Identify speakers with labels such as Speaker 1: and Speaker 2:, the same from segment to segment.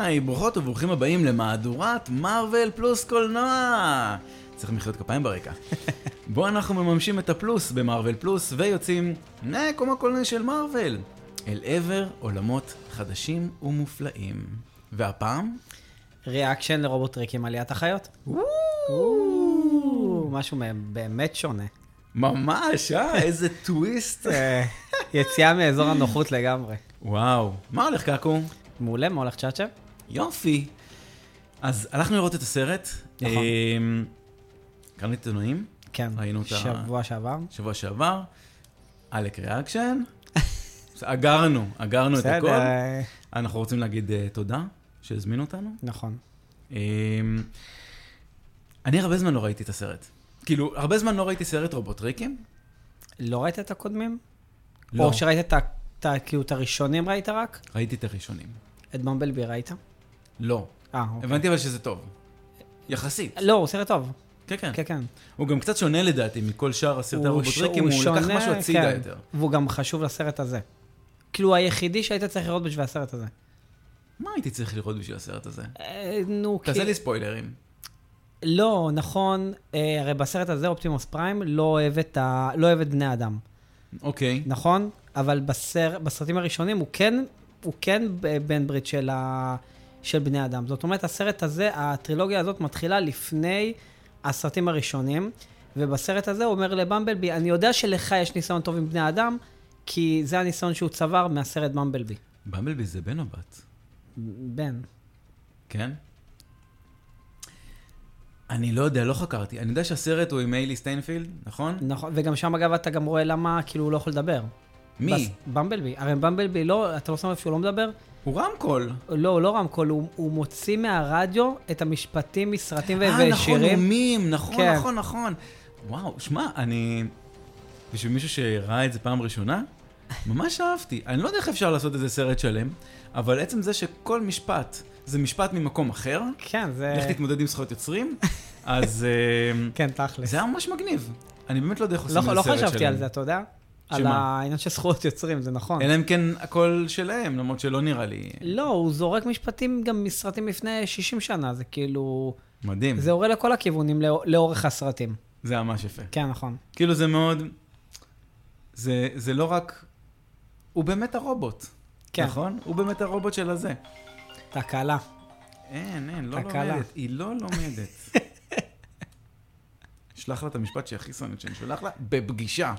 Speaker 1: היי, ברוכות וברוכים הבאים למהדורת מארוול פלוס קולנוע! צריך מחיאות כפיים ברקע. בו אנחנו מממשים את הפלוס במארוול פלוס ויוצאים מהקום הקולנועי של מארוול אל עבר עולמות חדשים ומופלאים. והפעם?
Speaker 2: ריאקשן לרובוט טריקים עליית החיות. משהו מ- באמת שונה.
Speaker 1: ממש, אה? איזה טוויסט.
Speaker 2: אה, יציאה מאזור הנוחות לגמרי.
Speaker 1: וואו, מה הולך קעקו?
Speaker 2: מעולה, מה הולך צ'אצ'ה?
Speaker 1: יופי. אז הלכנו לראות את הסרט.
Speaker 2: נכון.
Speaker 1: אמ, קראנו את עיתונאים,
Speaker 2: כן,
Speaker 1: ראינו אותה.
Speaker 2: שבוע שעבר.
Speaker 1: שבוע שעבר, עלק ריאקשן. אגרנו, אגרנו את הכל.
Speaker 2: אה,
Speaker 1: אנחנו רוצים להגיד אה, תודה שהזמינו אותנו.
Speaker 2: נכון.
Speaker 1: אמ, אני הרבה זמן לא ראיתי את הסרט. כאילו, הרבה זמן לא ראיתי סרט רובוטריקים.
Speaker 2: לא ראית את הקודמים?
Speaker 1: לא.
Speaker 2: או שראית את ה... את ה- כאילו את הראשונים ראית רק?
Speaker 1: ראיתי את הראשונים.
Speaker 2: את במבלבי ראית?
Speaker 1: לא.
Speaker 2: אה, אוקיי.
Speaker 1: הבנתי אבל שזה טוב. יחסית.
Speaker 2: לא, הוא סרט טוב.
Speaker 1: כן, כן.
Speaker 2: כן, כן.
Speaker 1: הוא גם קצת שונה לדעתי מכל שאר הסרטי
Speaker 2: ש-
Speaker 1: הרובוטריקים, הוא לקח
Speaker 2: שונה,
Speaker 1: משהו הצידה
Speaker 2: כן.
Speaker 1: יותר.
Speaker 2: והוא גם חשוב לסרט הזה. כאילו, הוא היחידי שהיית צריך לראות בשביל הסרט הזה.
Speaker 1: מה הייתי צריך לראות בשביל הסרט הזה?
Speaker 2: אה, נו,
Speaker 1: תעשה
Speaker 2: כי-
Speaker 1: לי ספוילרים.
Speaker 2: לא, נכון, אה, הרי בסרט הזה אופטימוס פריים לא אוהב את, ה... לא אוהב את בני אדם,
Speaker 1: אוקיי.
Speaker 2: נכון? אבל בסר... בסרטים הראשונים הוא כן, הוא כן ב- בן ברית של, ה... של בני אדם. זאת אומרת, הסרט הזה, הטרילוגיה הזאת מתחילה לפני הסרטים הראשונים, ובסרט הזה הוא אומר לבמבלבי, אני יודע שלך יש ניסיון טוב עם בני אדם, כי זה הניסיון שהוא צבר מהסרט במבלבי.
Speaker 1: במבלבי זה בן או בת?
Speaker 2: בן.
Speaker 1: כן? אני לא יודע, לא חקרתי. אני יודע שהסרט הוא עם איילי סטיינפילד, נכון?
Speaker 2: נכון, וגם שם אגב אתה גם רואה למה כאילו הוא לא יכול לדבר.
Speaker 1: מי?
Speaker 2: בס- במבלבי. הרי במבלבי לא, אתה לא שם לב שהוא לא מדבר?
Speaker 1: הוא רמקול.
Speaker 2: לא, הוא לא רמקול, הוא, הוא מוציא מהרדיו את המשפטים מסרטים ו-
Speaker 1: אה, נכון, הוא
Speaker 2: ושירים.
Speaker 1: מים, נכון,
Speaker 2: כן.
Speaker 1: נכון, נכון. וואו, שמע, אני... בשביל מישהו שראה את זה פעם ראשונה, ממש אהבתי. אני לא יודע איך אפשר לעשות איזה סרט שלם, אבל עצם זה שכל משפט זה משפט ממקום אחר,
Speaker 2: כן, זה...
Speaker 1: לך תתמודד עם זכויות יוצרים, אז אה,
Speaker 2: כן, תכלס.
Speaker 1: זה היה ממש מגניב. אני באמת לא יודע איך עושים
Speaker 2: לא,
Speaker 1: את זה
Speaker 2: לא
Speaker 1: סרט שלם.
Speaker 2: חשבתי על זה, אתה יודע? על
Speaker 1: שמה?
Speaker 2: העניין של זכויות יוצרים, זה נכון.
Speaker 1: אלא אם כן הכל שלהם, למרות שלא נראה לי
Speaker 2: לא, הוא זורק משפטים גם מסרטים לפני 60 שנה, זה כאילו...
Speaker 1: מדהים.
Speaker 2: זה הורה לכל הכיוונים לא- לאורך הסרטים.
Speaker 1: זה היה ממש יפה.
Speaker 2: כן, נכון.
Speaker 1: כאילו זה מאוד... זה, זה לא רק... הוא באמת הרובוט,
Speaker 2: כן.
Speaker 1: נכון? הוא באמת הרובוט של הזה.
Speaker 2: תקלה.
Speaker 1: אין, אין, לא
Speaker 2: תקלה.
Speaker 1: לומדת. היא לא לומדת. שלח לה את המשפט שהכי שונאת שאני שולח לה, בפגישה.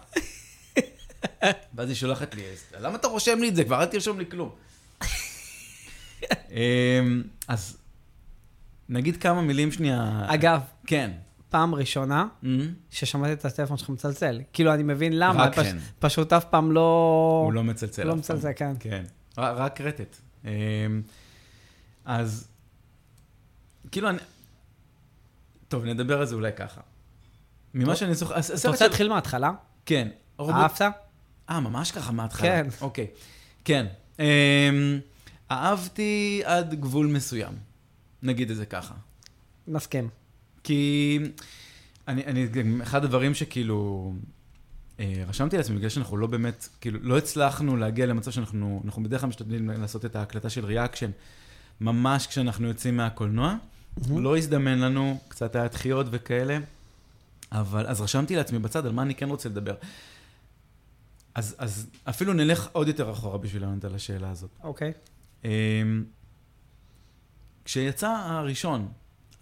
Speaker 1: ואז היא שולחת לי, "אז למה אתה רושם לי את זה? כבר אל תרשום לי כלום. אמ, אז נגיד כמה מילים שנייה.
Speaker 2: אגב,
Speaker 1: כן.
Speaker 2: פעם ראשונה
Speaker 1: אמ?
Speaker 2: ששמעתי את הטלפון שלך מצלצל. כאילו, אני מבין למה.
Speaker 1: רק
Speaker 2: פש-
Speaker 1: כן.
Speaker 2: פשוט אף פעם לא...
Speaker 1: הוא לא מצלצל.
Speaker 2: לא
Speaker 1: אף פעם.
Speaker 2: מצלצל, כן.
Speaker 1: כן. ר- רק רטט. אמ, אז, כאילו, אני... טוב, נדבר על זה אולי ככה. ממה
Speaker 2: טוב.
Speaker 1: שאני זוכר, הס-
Speaker 2: אתה
Speaker 1: הסרט
Speaker 2: רוצה
Speaker 1: של...
Speaker 2: להתחיל מההתחלה?
Speaker 1: כן. הרובוט-
Speaker 2: אהבת?
Speaker 1: אה, ממש ככה מההתחלה.
Speaker 2: כן.
Speaker 1: אוקיי. כן. אמ, אהבתי עד גבול מסוים. נגיד את זה ככה.
Speaker 2: מסכים.
Speaker 1: כי אני, אני, גם אחד הדברים שכאילו אה, רשמתי לעצמי, בגלל שאנחנו לא באמת, כאילו, לא הצלחנו להגיע למצב שאנחנו, אנחנו בדרך כלל משתדלים לעשות את ההקלטה של ריאקשן, ממש כשאנחנו יוצאים מהקולנוע. לא הזדמן לנו, קצת היה דחיות וכאלה, אבל אז רשמתי לעצמי בצד על מה אני כן רוצה לדבר. אז, אז אפילו נלך עוד יותר אחורה בשביל לענות על השאלה הזאת.
Speaker 2: אוקיי.
Speaker 1: אמ, כשיצא הראשון,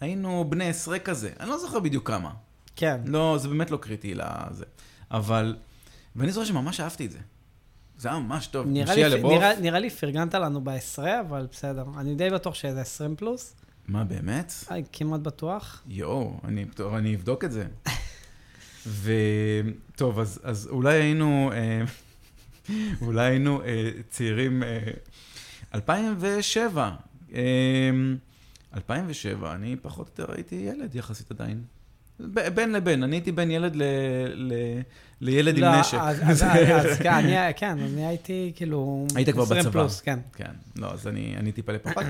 Speaker 1: היינו בני עשרה כזה, אני לא זוכר בדיוק כמה.
Speaker 2: כן.
Speaker 1: לא, זה באמת לא קריטי לזה. אבל, ואני זוכר שממש אהבתי את זה. זה היה ממש טוב.
Speaker 2: נראה
Speaker 1: משיע
Speaker 2: לי,
Speaker 1: לבוב.
Speaker 2: נראה, נראה לי פרגנת לנו ב-10, אבל בסדר. אני די בטוח שזה 20 פלוס,
Speaker 1: מה, באמת?
Speaker 2: אני כמעט בטוח.
Speaker 1: יואו, אני, טוב, אני אבדוק את זה. וטוב, אז, אז אולי היינו, אה, אולי היינו אה, צעירים, אה, 2007, אה, 2007, אני פחות או יותר הייתי ילד יחסית עדיין. ב- בין לבין, אני הייתי בין ילד ל, ל, לילד
Speaker 2: לא,
Speaker 1: עם נשק.
Speaker 2: אז, אז, אז, אז כן, אני, כן, אני הייתי כאילו...
Speaker 1: היית כבר
Speaker 2: 20
Speaker 1: בצבא.
Speaker 2: פלוס, כן.
Speaker 1: כן, לא, אז אני, אני טיפה פחות,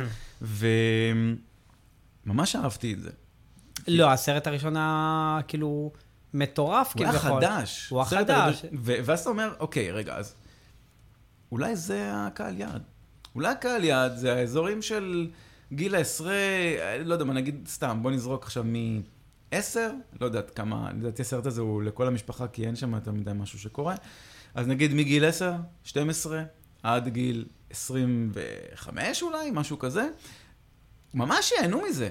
Speaker 1: וממש אהבתי את זה.
Speaker 2: לא, הסרט הראשון היה כאילו מטורף
Speaker 1: הוא היה
Speaker 2: כביכול.
Speaker 1: חדש.
Speaker 2: הוא
Speaker 1: סרט
Speaker 2: החדש.
Speaker 1: הראשון. ו- ואז אתה אומר, אוקיי, רגע, אז אולי זה הקהל יעד. אולי הקהל יעד זה האזורים של גיל העשרה, אה, לא יודע מה, נגיד סתם, בוא נזרוק עכשיו מ-10, לא יודעת כמה, לדעתי הסרט הזה הוא לכל המשפחה, כי אין שם יותר מדי משהו שקורה. אז נגיד מגיל 10, 12, עד גיל 25 אולי, משהו כזה, ממש ייהנו מזה.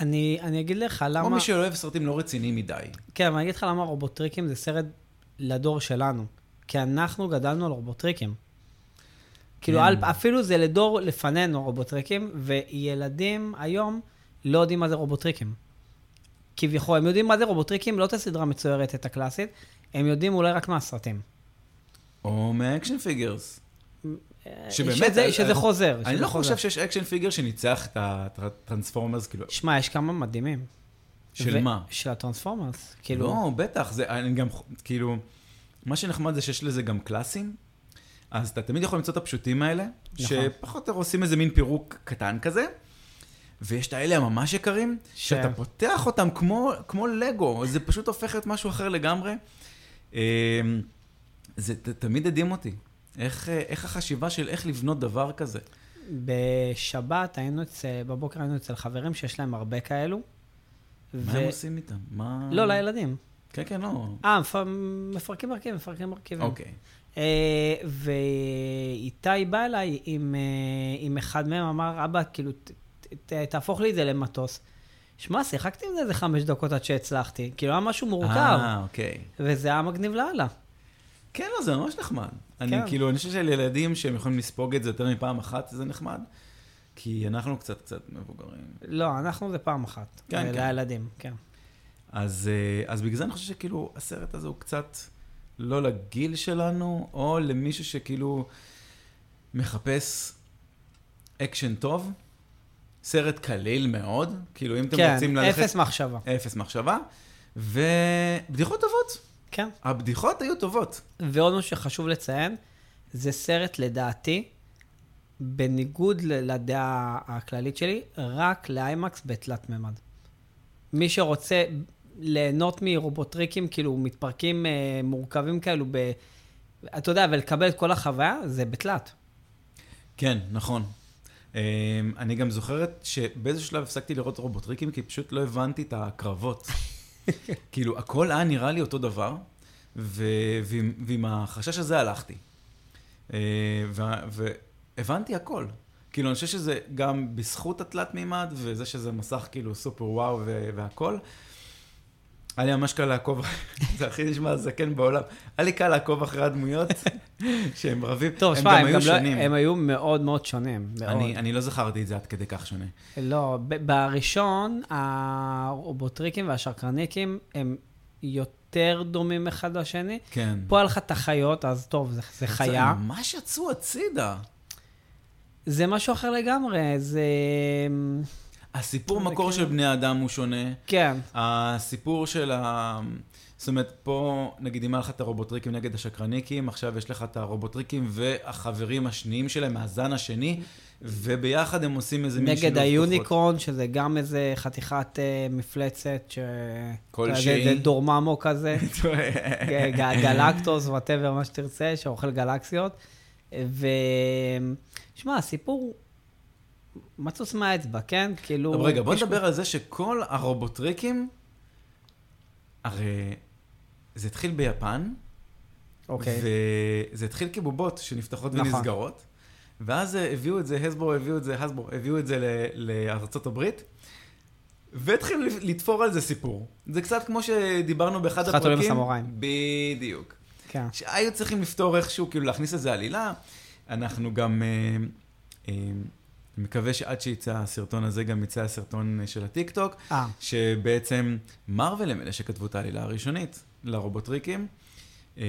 Speaker 2: אני, אני אגיד לך
Speaker 1: כמו
Speaker 2: למה...
Speaker 1: מי שאוהב סרטים לא רציניים מדי.
Speaker 2: כן, אבל אני אגיד לך למה רובוטריקים זה סרט לדור שלנו. כי אנחנו גדלנו על רובוטריקים. כאילו,
Speaker 1: כן.
Speaker 2: על, אפילו זה לדור לפנינו רובוטריקים, וילדים היום לא יודעים מה זה רובוטריקים. כביכול, הם יודעים מה זה רובוטריקים, לא את הסדרה המצוירת, את הקלאסית, הם יודעים אולי רק מהסרטים.
Speaker 1: או מאקשן פיגרס. שבאמת,
Speaker 2: שזה,
Speaker 1: אני-
Speaker 2: שזה
Speaker 1: אני-
Speaker 2: חוזר.
Speaker 1: אני
Speaker 2: שזה
Speaker 1: לא
Speaker 2: חוזר.
Speaker 1: חושב שיש אקשן פיגר שניצח את הטרנספורמרס, כאילו,
Speaker 2: שמע, יש כמה מדהימים.
Speaker 1: של
Speaker 2: ו-
Speaker 1: מה?
Speaker 2: של הטרנספורמרס. כאילו...
Speaker 1: לא, בטח, זה, אני גם, ח- כאילו, מה שנחמד זה שיש לזה גם קלאסים, אז אתה תמיד יכול למצוא את הפשוטים האלה,
Speaker 2: נכון.
Speaker 1: שפחות או יותר עושים איזה מין פירוק קטן כזה, ויש את האלה הממש יקרים,
Speaker 2: ש-
Speaker 1: שאתה פותח אותם כמו, כמו לגו, זה פשוט הופך להיות משהו אחר לגמרי. אמ, זה ת, תמיד הדהים אותי, איך, אה, איך החשיבה של איך לבנות דבר כזה.
Speaker 2: בשבת היינו אצל, בבוקר היינו אצל חברים שיש להם הרבה כאלו.
Speaker 1: מה הם עושים איתם? מה...
Speaker 2: לא, לילדים.
Speaker 1: כן, כן, לא.
Speaker 2: אה, מפ... מפרקים מרכיבים, מפרקים מרכיבים.
Speaker 1: אוקיי.
Speaker 2: אה, ואיתי בא אליי עם, אה, עם אחד מהם, אמר, אבא, כאילו, ת, ת, תהפוך לי את זה למטוס. שמע, שיחקתי עם זה איזה חמש דקות עד שהצלחתי. כאילו, היה משהו מורכב,
Speaker 1: אה, אוקיי.
Speaker 2: וזה היה מגניב לאללה.
Speaker 1: כן, לא, זה ממש נחמד. אני
Speaker 2: כן.
Speaker 1: כאילו, אני חושב שלילדים שהם יכולים לספוג את זה יותר מפעם אחת, זה נחמד. כי אנחנו קצת קצת מבוגרים.
Speaker 2: לא, אנחנו זה פעם אחת.
Speaker 1: כן, כן.
Speaker 2: אה, לילדים, כן.
Speaker 1: אז, אה, אז בגלל זה אני חושב שכאילו, הסרט הזה הוא קצת לא לגיל שלנו, או למישהו שכאילו מחפש אקשן טוב. סרט קליל מאוד, כאילו אם אתם
Speaker 2: כן,
Speaker 1: רוצים ללכת...
Speaker 2: אפס מחשבה.
Speaker 1: אפס מחשבה. ובדיחות טובות.
Speaker 2: כן.
Speaker 1: הבדיחות היו טובות.
Speaker 2: ועוד משהו שחשוב לציין, זה סרט לדעתי, בניגוד ל- לדעה הכללית שלי, רק לאיימקס בתלת מימד. מי שרוצה ליהנות מרובוטריקים, כאילו מתפרקים אה, מורכבים כאלו, ב... אתה יודע, ולקבל את כל החוויה, זה בתלת.
Speaker 1: כן, נכון. אמ, אני גם זוכרת שבאיזשהו שלב הפסקתי לראות רובוטריקים, כי פשוט לא הבנתי את הקרבות. כאילו, הכל היה נראה לי אותו דבר, ו- ועם, ועם החשש הזה הלכתי. אה, ו- והבנתי הכל. כאילו, אני חושב שזה גם בזכות התלת מימד, וזה שזה מסך כאילו סופר וואו ו- והכל. היה לי ממש קל לעקוב, זה הכי נשמע זקן בעולם. היה לי קל לעקוב אחרי הדמויות שהם רבים.
Speaker 2: טוב,
Speaker 1: הם
Speaker 2: שמע,
Speaker 1: גם
Speaker 2: הם,
Speaker 1: היו
Speaker 2: גם לא-
Speaker 1: שונים.
Speaker 2: הם היו מאוד מאוד שונים. מאוד.
Speaker 1: אני, אני לא זכרתי את זה עד כדי כך שונה.
Speaker 2: לא, ב- בראשון, הרובוטריקים והשרקרניקים הם יותר דומים אחד לשני.
Speaker 1: כן.
Speaker 2: פה היה לך את החיות, אז טוב, זה, זה
Speaker 1: זה
Speaker 2: חיה.
Speaker 1: ממש יצאו הצידה.
Speaker 2: זה משהו אחר לגמרי, זה...
Speaker 1: הסיפור
Speaker 2: זה
Speaker 1: מקור
Speaker 2: כן.
Speaker 1: של בני האדם הוא שונה.
Speaker 2: כן,
Speaker 1: הסיפור של ה... זאת אומרת, פה, נגיד, אם היה לך את הרובוטריקים נגד השקרניקים, עכשיו יש לך את הרובוטריקים והחברים השניים שלהם, מהזן השני, וביחד הם עושים איזה מין שילוב
Speaker 2: נגד
Speaker 1: כוחות.
Speaker 2: היוניקרון, שזה גם איזה חתיכת אה, מפלצת, ש...
Speaker 1: כלשהי.
Speaker 2: אתה יודע, זה דורממו כזה, ג- ג- גלקטוס, וואטאבר, מה שתרצה, שאוכל גלקסיות. ו... שמע, הסיפור מצוץ מהאצבע, כן? כאילו...
Speaker 1: טוב, רגע, בוא
Speaker 2: יש-
Speaker 1: נדבר על זה שכל הרובוטריקים, הרי זה התחיל ביפן,
Speaker 2: אוקיי.
Speaker 1: וזה התחיל כבובות שנפתחות
Speaker 2: נכון.
Speaker 1: ונסגרות, ואז אה, הביאו את זה, הסבור הביאו את זה, הסבור הביאו את זה ל- לארצות הברית, והתחילו לתפור על זה סיפור. זה קצת כמו שדיברנו באחד
Speaker 2: שיחת עולים
Speaker 1: הפרקים.
Speaker 2: הסמוראים.
Speaker 1: בדיוק.
Speaker 2: כן.
Speaker 1: שהיו צריכים לפתור איכשהו, כאילו להכניס לזה עלילה. אנחנו גם... אה, אה, מקווה שעד שיצא הסרטון הזה, גם יצא הסרטון אה, של הטיקטוק,
Speaker 2: אה,
Speaker 1: שבעצם מארוול הם אלה שכתבו את העלילה הראשונית לרובוטריקים. אמ,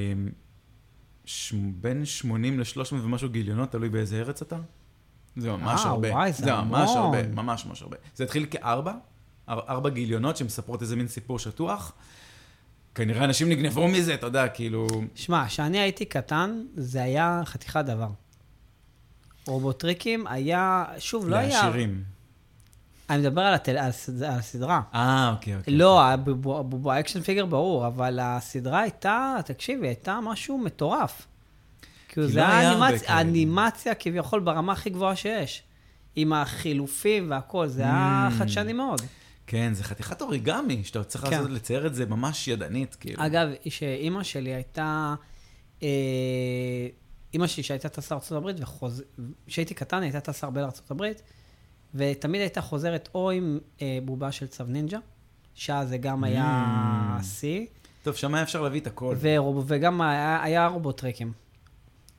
Speaker 1: ש... בין 80 ל-300 ומשהו גיליונות, תלוי באיזה ארץ אתה. זה ממש
Speaker 2: אה,
Speaker 1: הרבה.
Speaker 2: וואי, זה
Speaker 1: ממש
Speaker 2: המון.
Speaker 1: הרבה, ממש ממש הרבה. זה התחיל כארבע, אר- ארבע גיליונות שמספרות איזה מין סיפור שטוח. כנראה אנשים נגנבו מזה, אתה יודע, כאילו...
Speaker 2: שמע, כשאני הייתי קטן, זה היה חתיכת דבר. רובוטריקים היה, שוב, לא היה...
Speaker 1: לעשירים.
Speaker 2: אני מדבר על, הטל... על, הסד... על הסדרה.
Speaker 1: אה, אוקיי, אוקיי.
Speaker 2: לא, הבוב- הבוב- האקשן פיגר ברור, אבל הסדרה הייתה, תקשיבי, הייתה משהו מטורף. כאילו
Speaker 1: כי
Speaker 2: זה
Speaker 1: לא
Speaker 2: היה
Speaker 1: היה הרבה
Speaker 2: אנימצ...
Speaker 1: כאלה.
Speaker 2: אנימציה כביכול ברמה הכי גבוהה שיש. עם החילופים והכל, זה היה
Speaker 1: Mm.
Speaker 2: חדשני מאוד.
Speaker 1: כן, זה חתיכת אוריגמי, שאתה צריך
Speaker 2: כן.
Speaker 1: לעשות, לצייר את זה ממש ידנית, כאילו.
Speaker 2: אגב, שאימא שלי הייתה... אה, אימא שלי שהייתה טסה לארצות הברית, וכשהייתי קטן הייתה טסה הרבה לארצות הברית, ותמיד הייתה חוזרת או עם אה, בובה של צו נינג'ה, שאז זה גם היה
Speaker 1: Mm.
Speaker 2: שיא,
Speaker 1: טוב, שם היה אפשר להביא את הכל.
Speaker 2: ורוב- וגם היה היה רובוטריקים.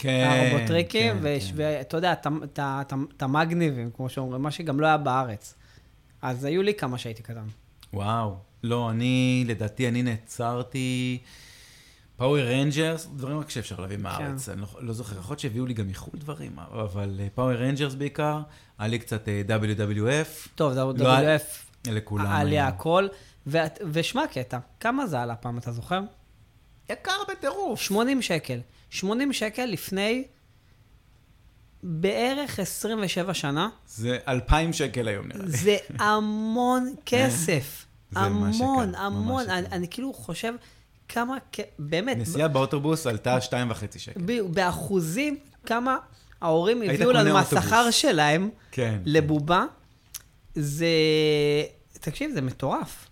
Speaker 2: היה
Speaker 1: כן,
Speaker 2: רובוטריקים,
Speaker 1: כן,
Speaker 2: וש-
Speaker 1: כן.
Speaker 2: ואתה יודע, את המ- את ה- את המ- את המגניבים, כמו שאומרים, מה שגם לא היה בארץ. אז היו לי כמה שהייתי קטן.
Speaker 1: וואו. לא, אני, לדעתי, אני נעצרתי... פאוור רנג'רס, דברים רק שאפשר
Speaker 2: כן.
Speaker 1: להביא מהארץ, אני לא, לא זוכר, יכול להיות שהביאו לי גם מחו"ל דברים, אבל פאוור רנג'רס בעיקר, היה לי קצת אה, WWF,
Speaker 2: טוב, זה
Speaker 1: לא היה-
Speaker 2: WF
Speaker 1: לכולם.
Speaker 2: עלי
Speaker 1: היה.
Speaker 2: הכל, ואת- ושמע קטע, כמה זה עלה פעם, אתה זוכר?
Speaker 1: יקר בטירוף.
Speaker 2: 80 שקל. 80 שקל לפני בערך 27 שנה,
Speaker 1: זה 2,000 שקל היום נראה לי.
Speaker 2: זה המון כסף.
Speaker 1: אה, זה ממש יקר,
Speaker 2: המון,
Speaker 1: ממש
Speaker 2: המון.
Speaker 1: יקר.
Speaker 2: אני אני כאילו חושב כמה, כ- באמת,
Speaker 1: נסיעה באוטובוס עלתה 2.5 שקל.
Speaker 2: ב- באחוזים, כמה ההורים
Speaker 1: היית
Speaker 2: הביאו לנו
Speaker 1: קונה אוטובוס.
Speaker 2: מהשכר שלהם
Speaker 1: כן.
Speaker 2: לבובה, זה... תקשיב, זה מטורף.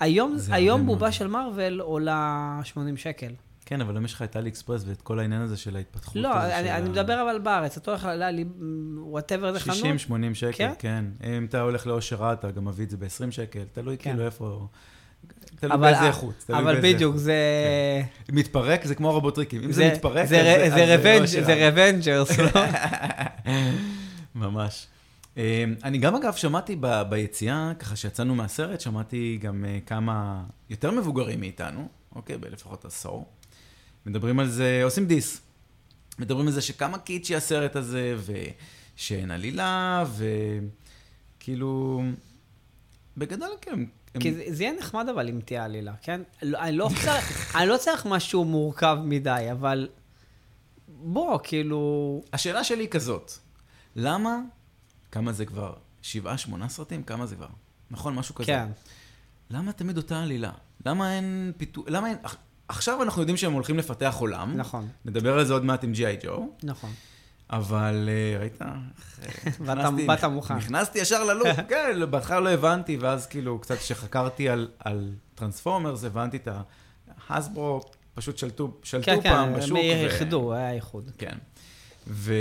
Speaker 2: היום,
Speaker 1: זה
Speaker 2: היום
Speaker 1: הרבה
Speaker 2: בובה
Speaker 1: מאוד.
Speaker 2: של מארוול עולה 80 שקל.
Speaker 1: כן, אבל היום יש לך את אלי אקספרס ואת כל העניין הזה של ההתפתחות.
Speaker 2: לא,
Speaker 1: הזה של
Speaker 2: אני, אני
Speaker 1: ה-
Speaker 2: מדבר אבל בארץ, אתה הולך לי, וואטאבר לחנות.
Speaker 1: 60-80
Speaker 2: כן?
Speaker 1: שקל, כן. אם אתה הולך לאושר רע, אתה גם מביא את זה ב-20 שקל, תלוי
Speaker 2: כן.
Speaker 1: כאילו איפה... תלוי
Speaker 2: אבל-
Speaker 1: באיזה איכות. תלוי
Speaker 2: אבל
Speaker 1: באיזה
Speaker 2: בדיוק,
Speaker 1: איכות.
Speaker 2: זה...
Speaker 1: מתפרק זה כמו רובוטריקים. אם זה מתפרק,
Speaker 2: זה
Speaker 1: אז
Speaker 2: ר-
Speaker 1: אז
Speaker 2: זה
Speaker 1: לא
Speaker 2: רבנג'-
Speaker 1: אושר
Speaker 2: זה
Speaker 1: רע.
Speaker 2: רבנג'רס, לא?
Speaker 1: ממש. אמ, אני גם אגב שמעתי ב- ביציאה, ככה שיצאנו מהסרט, שמעתי גם אה, כמה יותר מבוגרים מאיתנו, אוקיי, בלפחות עשור, מדברים על זה, עושים דיס. מדברים על זה שכמה קיצ'י הסרט הזה, ושאין עלילה, וכאילו, בגדול כן. הם-
Speaker 2: כי זה- זה יהיה נחמד אבל אם תהיה עלילה, כן? לא- אני לא צריך- אני לא צריך משהו מורכב מדי, אבל... בוא, כאילו...
Speaker 1: השאלה שלי היא כזאת, למה, כמה זה כבר, שבעה, שמונה סרטים? כמה זה כבר? נכון, משהו כזה.
Speaker 2: כן.
Speaker 1: למה תמיד אותה עלילה? למה אין פיתוח... למה אין... עכ- עכשיו אנחנו יודעים שהם הולכים לפתח עולם.
Speaker 2: נכון.
Speaker 1: נדבר על זה עוד מעט עם ג'י.איי ג'ו,
Speaker 2: נכון.
Speaker 1: אבל אה, ראית? איך, אה,
Speaker 2: באת-
Speaker 1: נכנסתי-
Speaker 2: באת מוכן.
Speaker 1: נכנסתי ישר ללופ, כן, בהתחלה לא הבנתי, ואז כאילו קצת כשחקרתי על, על טרנספורמרס, הבנתי את ההסברו, פשוט שלטו, שלטו
Speaker 2: כן, כן,
Speaker 1: פעם בשוק.
Speaker 2: הם
Speaker 1: ו-
Speaker 2: ייחדו, היה איחוד.
Speaker 1: כן. ו...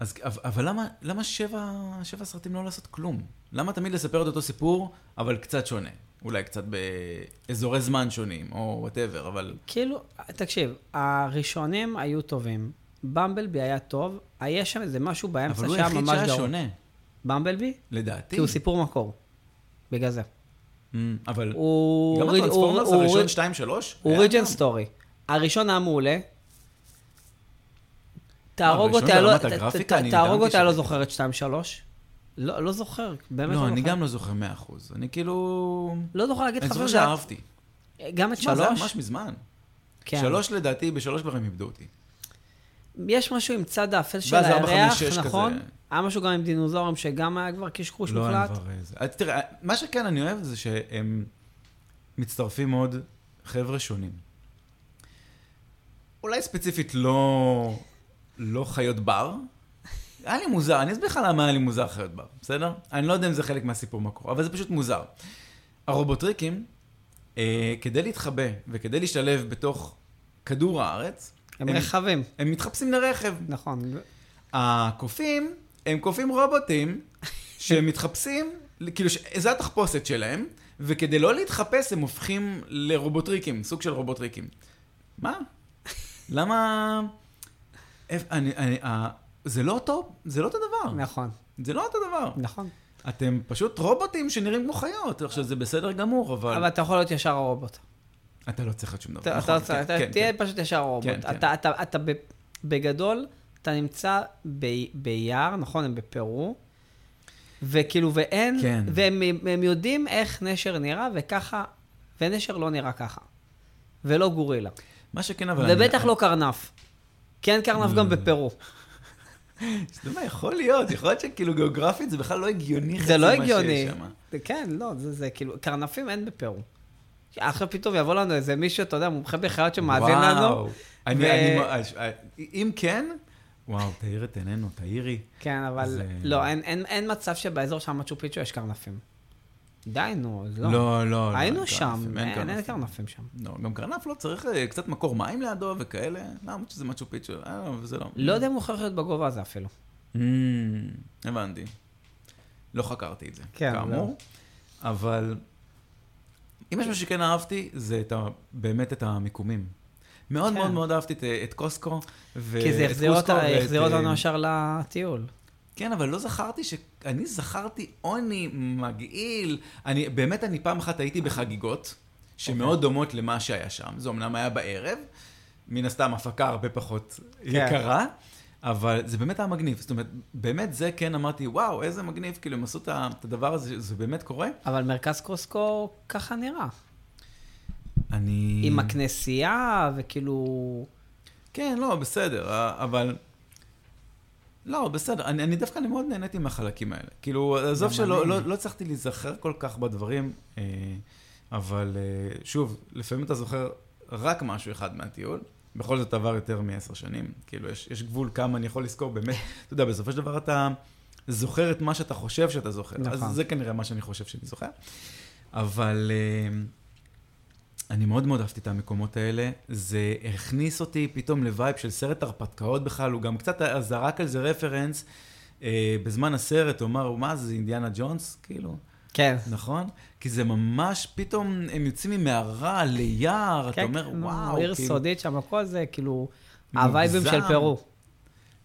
Speaker 1: אז, אבל אבל למה, למה שבע, שבע סרטים לא לעשות כלום? למה תמיד לספר את אותו סיפור, אבל קצת שונה? אולי קצת באזורי זמן שונים, או וואטאבר, אבל...
Speaker 2: כאילו, תקשיב, הראשונים היו טובים. במבלבי היה טוב, היה שם איזה משהו
Speaker 1: אבל
Speaker 2: באמצע
Speaker 1: הוא
Speaker 2: שהיה
Speaker 1: היחיד
Speaker 2: ממש
Speaker 1: שהיה
Speaker 2: גרוע.
Speaker 1: שונה,
Speaker 2: במבלבי?
Speaker 1: לדעתי.
Speaker 2: כי הוא סיפור מקור. בגלל זה.
Speaker 1: Mm, אבל
Speaker 2: הוא...
Speaker 1: גם
Speaker 2: הוריד-
Speaker 1: הטרנספורמרס
Speaker 2: הוא- הוא-
Speaker 1: הראשון, שתיים, שלוש?
Speaker 2: הוא
Speaker 1: היה
Speaker 2: אוריג'ן
Speaker 1: גם.
Speaker 2: סטורי. הראשון היה מעולה. תהרוג
Speaker 1: הראשון
Speaker 2: אותי, אני לא-
Speaker 1: ברמת
Speaker 2: ת- ת-
Speaker 1: הגרפיקה,
Speaker 2: ת-
Speaker 1: אני
Speaker 2: תהרוג
Speaker 1: נדהמתי
Speaker 2: אותי, אני לא
Speaker 1: שזה-
Speaker 2: זוכר את 2-3. לא לא זוכר, באמת
Speaker 1: לא, אני
Speaker 2: זוכר.
Speaker 1: גם לא זוכר מאה אחוז. אני כאילו...
Speaker 2: לא זוכר להגיד
Speaker 1: אני
Speaker 2: לך
Speaker 1: זוכר
Speaker 2: אפילו שאת-
Speaker 1: שאהבתי.
Speaker 2: גם את
Speaker 1: תשמע, זה היה
Speaker 2: 3.
Speaker 1: ממש מזמן.
Speaker 2: כן.
Speaker 1: שלוש לדעתי, בשלוש כבר הם איבדו אותי.
Speaker 2: יש משהו עם צד האפל של
Speaker 1: ואז ארבע,
Speaker 2: הירח,
Speaker 1: חמש, שש
Speaker 2: נכון?
Speaker 1: כזה.
Speaker 2: היה משהו גם עם דינוזאורים, שגם היה כבר קשקוש
Speaker 1: לא,
Speaker 2: מוחלט.
Speaker 1: אין כבר איזה. אז תראה, אה, מה שכן אני אוהב זה שהם מצטרפים עוד חבר'ה שונים. אולי ספציפית לא, לא חיות בר. היה לי מוזר, אני אסביר לך למה היה לי מוזר חיות בר, בסדר? אני לא יודע אם זה חלק מהסיפור מקור, אבל זה פשוט מוזר. הרובוטריקים, אה, כדי להתחבא וכדי להשתלב בתוך כדור הארץ,
Speaker 2: הם
Speaker 1: הם-
Speaker 2: רחבים,
Speaker 1: הם מתחפשים לרכב.
Speaker 2: נכון.
Speaker 1: הקופים, הם קופים רובוטים שמתחפשים, כאילו, ש- זה התחפושת שלהם, וכדי לא להתחפש הם הופכים לרובוטריקים, סוג של רובוטריקים. מה? למה... איפ- אני, אני, אה, זה לא אותו, זה לא אותו דבר.
Speaker 2: נכון,
Speaker 1: זה לא אותו דבר.
Speaker 2: נכון.
Speaker 1: אתם פשוט רובוטים שנראים כמו חיות. עכשיו, זה בסדר גמור, אבל...
Speaker 2: אבל אתה יכול להיות ישר הרובוט.
Speaker 1: אתה לא צריך להיות שום דבר.
Speaker 2: אתה-
Speaker 1: נכון,
Speaker 2: אתה אתה-
Speaker 1: כן,
Speaker 2: אתה
Speaker 1: כן,
Speaker 2: תהיה
Speaker 1: כן.
Speaker 2: פשוט ישר רובוט.
Speaker 1: כן, כן.
Speaker 2: אתה- אתה- אתה ב- בגדול, אתה נמצא ב- ביער, נכון? הם בפרו. וכאילו, ואין,
Speaker 1: כן.
Speaker 2: והם הם יודעים איך נשר נראה, וככה, ונשר לא נראה ככה. ולא גורילה.
Speaker 1: כן. מה שכן, אבל... אני- אה.
Speaker 2: ובטח לא קרנף. כי אין קרנף גם בפרו.
Speaker 1: אתה יודע מה, לא יכול להיות, יכול להיות שכאילו גיאוגרפית זה בכלל לא הגיוני.
Speaker 2: זה
Speaker 1: חצי
Speaker 2: לא
Speaker 1: מה שיש
Speaker 2: הגיוני.
Speaker 1: שם.
Speaker 2: זה- כן, לא, זה, זה כאילו, קרנפים אין בפרו. אחרי פתאום יבוא לנו איזה מישהו, אתה יודע, מומחה בחיות שמאזין לנו.
Speaker 1: וואו. אני,
Speaker 2: ו-
Speaker 1: אני, ממש- אם כן, וואו, תאיר את עינינו, תאירי.
Speaker 2: כן, אבל
Speaker 1: זה-
Speaker 2: לא, אין- אין- אין מצב שבאזור של המצ'ו פיצ'ו יש קרנפים. די, נו, אז
Speaker 1: לא,
Speaker 2: לא.
Speaker 1: לא, לא.
Speaker 2: היינו
Speaker 1: אין
Speaker 2: שם,
Speaker 1: קרנפים,
Speaker 2: אין אין קרנפים שם.
Speaker 1: לא, גם קרנף לא צריך אה, קצת מקור מים לידו וכאלה? למה שזה מצ'ו פיצ'ו? אה, לא, זה לא.
Speaker 2: לא יודע אם הוא יכול להיות בגובה הזה אפילו.
Speaker 1: Mm, הבנתי. לא חקרתי את זה,
Speaker 2: כן,
Speaker 1: כאמור. אבל אם יש משהו שכן אהבתי, זה את ה... באמת את המיקומים. מאוד
Speaker 2: כן.
Speaker 1: מאוד מאוד אהבתי את, אה, את קוסקו. ו...
Speaker 2: כי זה
Speaker 1: את
Speaker 2: יחזיר
Speaker 1: אה, קוסקו
Speaker 2: אותה-
Speaker 1: ואת,
Speaker 2: יחזיר אותנו
Speaker 1: אה,
Speaker 2: ישר לטיול.
Speaker 1: כן, אבל לא זכרתי ש... אני זכרתי עוני מגעיל. אני, באמת, אני פעם אחת הייתי בחגיגות, שמאוד דומות למה שהיה שם. זה אמנם היה בערב, מן הסתם הפקה הרבה פחות יקרה, אבל זה באמת היה מגניב. זאת אומרת, באמת זה כן אמרתי, וואו, איזה מגניב, כאילו, הם עשו את ה- את הדבר הזה, זה באמת קורה.
Speaker 2: אבל מרכז קוסקו ככה נראה.
Speaker 1: אני...
Speaker 2: עם הכנסייה, וכאילו...
Speaker 1: כן, לא, בסדר, אה, אבל... לא, בסדר, אני, אני דווקא, אני מאוד נהניתי מהחלקים האלה. כאילו, עזוב
Speaker 2: גם
Speaker 1: שלא
Speaker 2: אני.
Speaker 1: לא, לא הצלחתי להיזכר כל כך בדברים, אה, אבל אה, שוב, לפעמים אתה זוכר רק משהו אחד מהטיול. בכל זאת עבר יותר מעשר שנים, כאילו, יש, יש גבול כמה אני יכול לזכור באמת. אתה יודע, בסופו של דבר אתה זוכר את מה שאתה חושב שאתה זוכר.
Speaker 2: נכון.
Speaker 1: אז זה כנראה מה שאני חושב שאני זוכר. אבל אה, אני מאוד מאוד אהבתי את המקומות האלה. זה הכניס אותי פתאום לווייב של סרט הרפתקאות בכלל, הוא גם קצת זרק על זה רפרנס. אה, בזמן הסרט, הוא אמר, מה זה, אינדיאנה ג'ונס? כאילו,
Speaker 2: כן.
Speaker 1: נכון? כי זה ממש, פתאום הם יוצאים ממערה ליער, אתה
Speaker 2: כן,
Speaker 1: אומר,
Speaker 2: כן,
Speaker 1: וואו.
Speaker 2: עיר
Speaker 1: כאילו,
Speaker 2: סודית שם, הכל זה כאילו...
Speaker 1: מוגזם.
Speaker 2: הווייבים של פרו.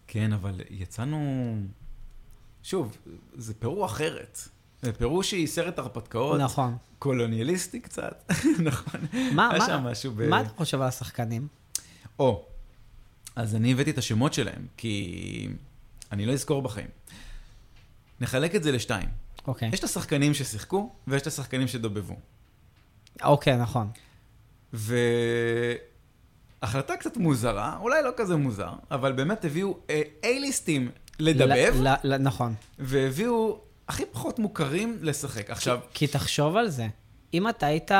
Speaker 1: כן, אבל יצאנו... שוב, זה פרו אחרת. זה פרו שהיא סרט הרפתקאות,
Speaker 2: נכון.
Speaker 1: קולוניאליסטי קצת, נכון?
Speaker 2: מה-
Speaker 1: היה
Speaker 2: מה-
Speaker 1: שם משהו ב...
Speaker 2: מה אתה חושב על השחקנים?
Speaker 1: או, אז אני הבאתי את השמות שלהם, כי אני לא אזכור בחיים. נחלק את זה לשתיים.
Speaker 2: אוקיי.
Speaker 1: יש את השחקנים ששיחקו, ויש את השחקנים שדובבו.
Speaker 2: אוקיי, נכון.
Speaker 1: והחלטה קצת מוזרה, אולי לא כזה מוזר, אבל באמת הביאו אה, A-ליסטים לדבב,
Speaker 2: ל- ל- ל- נכון.
Speaker 1: והביאו הכי פחות מוכרים לשחק. עכשיו,
Speaker 2: כי תחשוב על זה. אם אתה היית...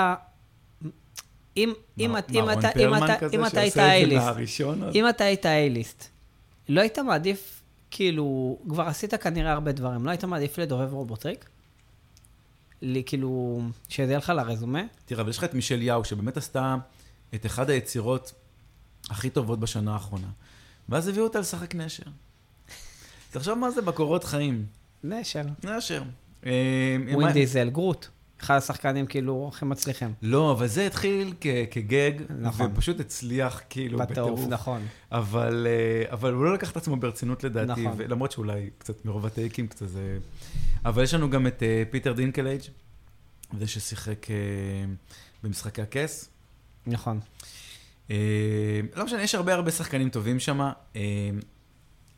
Speaker 2: אם אם
Speaker 1: מה-
Speaker 2: את-
Speaker 1: מה,
Speaker 2: אם
Speaker 1: רון
Speaker 2: אתה אם
Speaker 1: פרלמן
Speaker 2: אתה-
Speaker 1: כזה
Speaker 2: אם אתה היית
Speaker 1: שעושה את זה
Speaker 2: אייליסט,
Speaker 1: מהראשון? אז-
Speaker 2: אם אתה היית אייליסט, לא היית מעדיף, כאילו, כבר עשית כנראה הרבה דברים, לא היית מעדיף לדובב רובוטריק? לי, כאילו, שזה יהיה לך לרזומה?
Speaker 1: תראה, אבל יש לך את מישל יאו, שבאמת עשתה את אחד היצירות הכי טובות בשנה האחרונה. ואז הביאו אותה לשחק נשר. תחשוב מה זה בקורות חיים.
Speaker 2: נשר.
Speaker 1: נשר. אה,
Speaker 2: ווין
Speaker 1: מה-
Speaker 2: דיזל, גרוט. אחד השחקנים, כאילו, הכי מצליחים.
Speaker 1: לא, אבל זה התחיל כ- כגג,
Speaker 2: נכון.
Speaker 1: ופשוט הצליח כאילו
Speaker 2: בטירוף,
Speaker 1: בטירוף.
Speaker 2: נכון.
Speaker 1: אבל, אה, אבל הוא לא לקח את עצמו ברצינות לדעתי,
Speaker 2: נכון.
Speaker 1: למרות שאולי קצת מרוב הטייקים קצת זה... אבל יש לנו גם את אה, פיטר דינקלייג', זה ששיחק אה, במשחקי הכס.
Speaker 2: נכון.
Speaker 1: אה, לא משנה, יש הרבה הרבה שחקנים טובים שם. אה,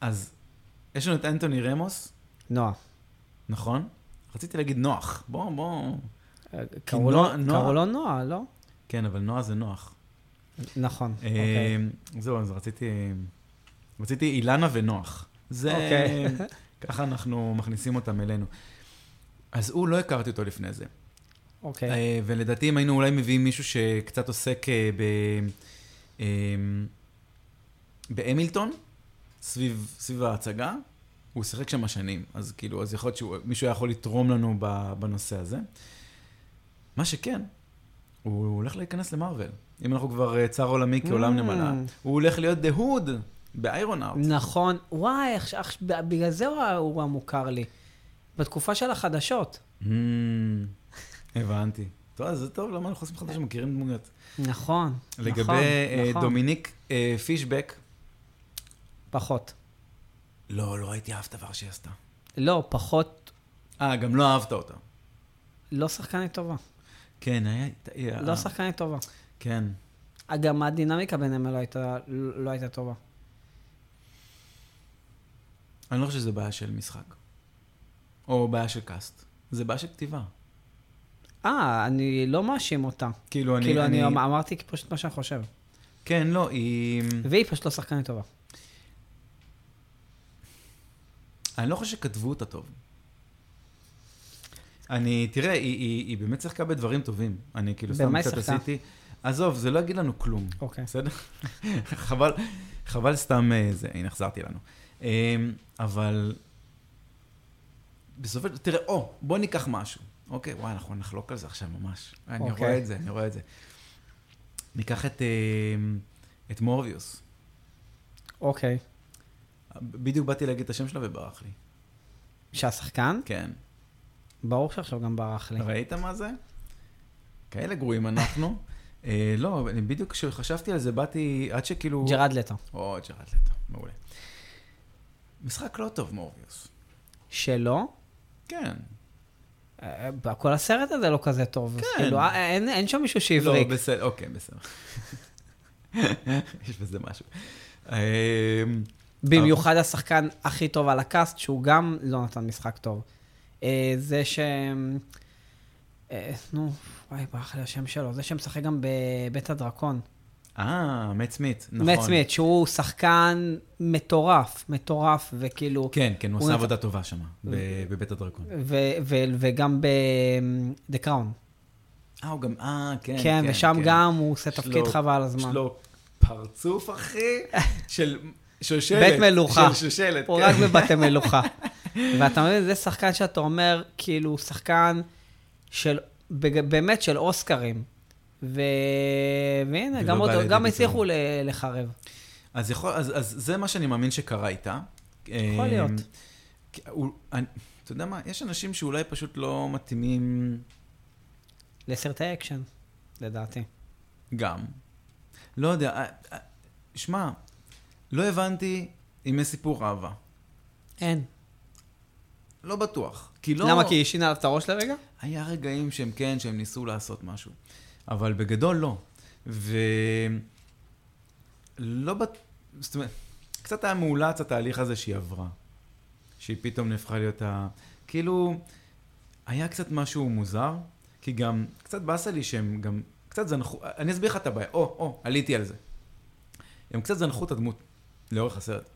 Speaker 1: אז יש לנו את אנטוני רמוס,
Speaker 2: נועה.
Speaker 1: נכון? רציתי להגיד נוח. בוא, בוא.
Speaker 2: אה, קראו לו-
Speaker 1: נועה- נועה-
Speaker 2: קראו לו נועה, לא?
Speaker 1: כן, אבל נוח זה נוח.
Speaker 2: נכון.
Speaker 1: אה,
Speaker 2: אוקיי.
Speaker 1: זהו, אז רציתי... רציתי אילנה ונוח. זה...
Speaker 2: אוקיי.
Speaker 1: ככה אנחנו מכניסים אותם אלינו. אז הוא, לא הכרתי אותו לפני זה.
Speaker 2: אוקיי.
Speaker 1: אה, ולדעתי אם היינו אולי מביאים מישהו שקצת עוסק אה, ב... אה, בהמילטון, סביב, סביב ההצגה, הוא שיחק שם שנים, אז כאילו, אז יכול להיות שמישהו היה יכול לתרום לנו ב- בנושא הזה. מה שכן, הוא הולך להיכנס למרוויל. אם אנחנו כבר אה, צר עולמי כעולם
Speaker 2: Mm.
Speaker 1: נמלה, הוא הולך להיות דה הוד באיירון ארט.
Speaker 2: נכון. וואי, איך ש- איך ש- בגלל זה הוא ה- הוא המוכר לי. בתקופה של החדשות.
Speaker 1: Mm, הבנתי. טוב, אז זה טוב, למה אנחנו עושים חדשים? מכירים דמויות.
Speaker 2: נכון.
Speaker 1: לגבי
Speaker 2: נכון,
Speaker 1: אה,
Speaker 2: נכון.
Speaker 1: דומיניק אה, פישבק,
Speaker 2: פחות.
Speaker 1: לא, לא ראיתי אף דבר שהיא עשתה.
Speaker 2: לא, פחות,
Speaker 1: אה, גם לא אהבת אותה.
Speaker 2: לא שחקנית טובה.
Speaker 1: כן, היה... היה-
Speaker 2: לא שחקנית טובה.
Speaker 1: כן.
Speaker 2: גם הדינמיקה ביניהם לא הייתה, לא הייתה טובה.
Speaker 1: אני לא חושב שזה בעיה של משחק. או בעיה של קאסט. זה בעיה של כתיבה.
Speaker 2: אה, אני לא מאשים אותה.
Speaker 1: כאילו, אני...
Speaker 2: כאילו, אני אמ- אמרתי פשוט מה שאני חושב.
Speaker 1: כן, לא, היא...
Speaker 2: והיא פשוט לא שחקנית טובה.
Speaker 1: אני לא חושב שכתבו אותה טוב. אני, תראה, היא, היא, היא באמת שיחקה בדברים טובים. אני כאילו
Speaker 2: במה
Speaker 1: סתם
Speaker 2: היא
Speaker 1: קצת
Speaker 2: שיחקה?
Speaker 1: עשיתי. עזוב, זה לא יגיד לנו כלום.
Speaker 2: אוקיי.
Speaker 1: בסדר? חבל, חבל סתם אה, זה, הנה, החזרתי לנו. אה, אבל בסופו של תראה, או, בוא ניקח משהו. אוקיי, וואי, אנחנו נחלוק על זה עכשיו ממש. אני
Speaker 2: אוקיי.
Speaker 1: רואה את זה, אני רואה את זה. ניקח את, אה, את מורביוס.
Speaker 2: אוקיי.
Speaker 1: בדיוק באתי להגיד את השם שלה וברח לי.
Speaker 2: שהשחקן,
Speaker 1: כן.
Speaker 2: ברור שעכשיו גם ברח לי.
Speaker 1: ראית מה זה? כאלה גרועים אנחנו. אה, לא, אני בדיוק כשחשבתי על זה, באתי עד שכאילו...
Speaker 2: ג'רד לטו.
Speaker 1: או, ג'רד לטו, מעולה. משחק לא טוב, מורביוס.
Speaker 2: שלו?
Speaker 1: כן.
Speaker 2: אה, כל הסרט הזה לא כזה טוב.
Speaker 1: כן.
Speaker 2: כאילו, אה, אין אין שם מישהו שהבריק.
Speaker 1: לא, בסדר, אוקיי, בסדר. יש בזה משהו. אמ,
Speaker 2: במיוחד השחקן הכי טוב על הקאסט, שהוא גם לא נתן משחק טוב. אה, זה ש... אה, נו, וואי, ברח לי השם שלו. זה שמשחק גם בבית הדרקון.
Speaker 1: אה, מאט סמית, נכון.
Speaker 2: מאט סמית, שהוא שחקן מטורף, מטורף, וכאילו...
Speaker 1: כן, כן, הוא
Speaker 2: הוא
Speaker 1: עושה
Speaker 2: נתן-
Speaker 1: עבודה טובה שם, ב- בבית הדרקון.
Speaker 2: ו- ו- וגם ב-The Crown.
Speaker 1: אה, הוא גם, אה, כן,
Speaker 2: כן, ושם
Speaker 1: כן.
Speaker 2: גם הוא עושה
Speaker 1: יש לו-
Speaker 2: תפקיד חבל
Speaker 1: יש
Speaker 2: הזמן.
Speaker 1: לו פרצוף, אחי, של שושלת.
Speaker 2: בית מלוכה.
Speaker 1: של שושלת,
Speaker 2: הוא
Speaker 1: כן.
Speaker 2: רק בבתי מלוכה. ואתה מבין, זה שחקן שאתה אומר, כאילו, שחקן של, בג- באמת של אוסקרים. ו... והנה,
Speaker 1: ולא
Speaker 2: גם,
Speaker 1: לא בא
Speaker 2: אותו,
Speaker 1: לידי
Speaker 2: גם
Speaker 1: ביטוי.
Speaker 2: הצליחו ל- לחרב.
Speaker 1: אז יכול, אז, אז זה מה שאני מאמין שקרה איתה.
Speaker 2: יכול להיות.
Speaker 1: אמ, כי הוא- אני- אתה יודע מה, יש אנשים שאולי פשוט לא מתאימים
Speaker 2: לסרטי אקשן, לדעתי.
Speaker 1: גם. לא יודע, אה, אה, שמע, לא הבנתי אם יש סיפור אהבה.
Speaker 2: אין.
Speaker 1: לא בטוח. כי לא...
Speaker 2: לא... למה? כי היא שינה עליו את הראש לרגע?
Speaker 1: היה רגעים שהם כן, שהם ניסו לעשות משהו. אבל בגדול לא. ו... לא בט... זאת אומרת, קצת היה מאולץ התהליך הזה שהיא עברה. שהיא פתאום נהפכה להיות ה... כאילו, היה קצת משהו מוזר, כי גם קצת באסה לי שהם גם קצת זנחו... אני אסביר לך את הבעיה. או, או, עליתי על זה. הם קצת זנחו את הדמות לאורך הסרט.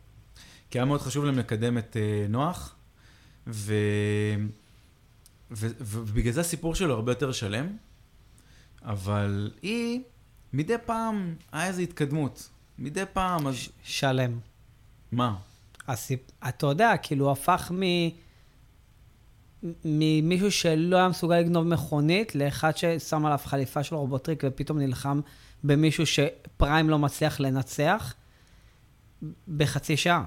Speaker 1: כי היה מאוד חשוב להם לקדם את אה, נוח, ו... ו- ו- ובגלל זה הסיפור שלו הרבה יותר שלם, אבל היא, מדי פעם היה איזו התקדמות. מדי פעם, אז
Speaker 2: ש- שלם.
Speaker 1: מה?
Speaker 2: הסיפ... אתה יודע, כאילו, הוא הפך מ... ממישהו שלא היה מסוגל לגנוב מכונית, לאחד ששם עליו חליפה של רובוטריק ופתאום נלחם במישהו שפריים לא מצליח לנצח בחצי שעה.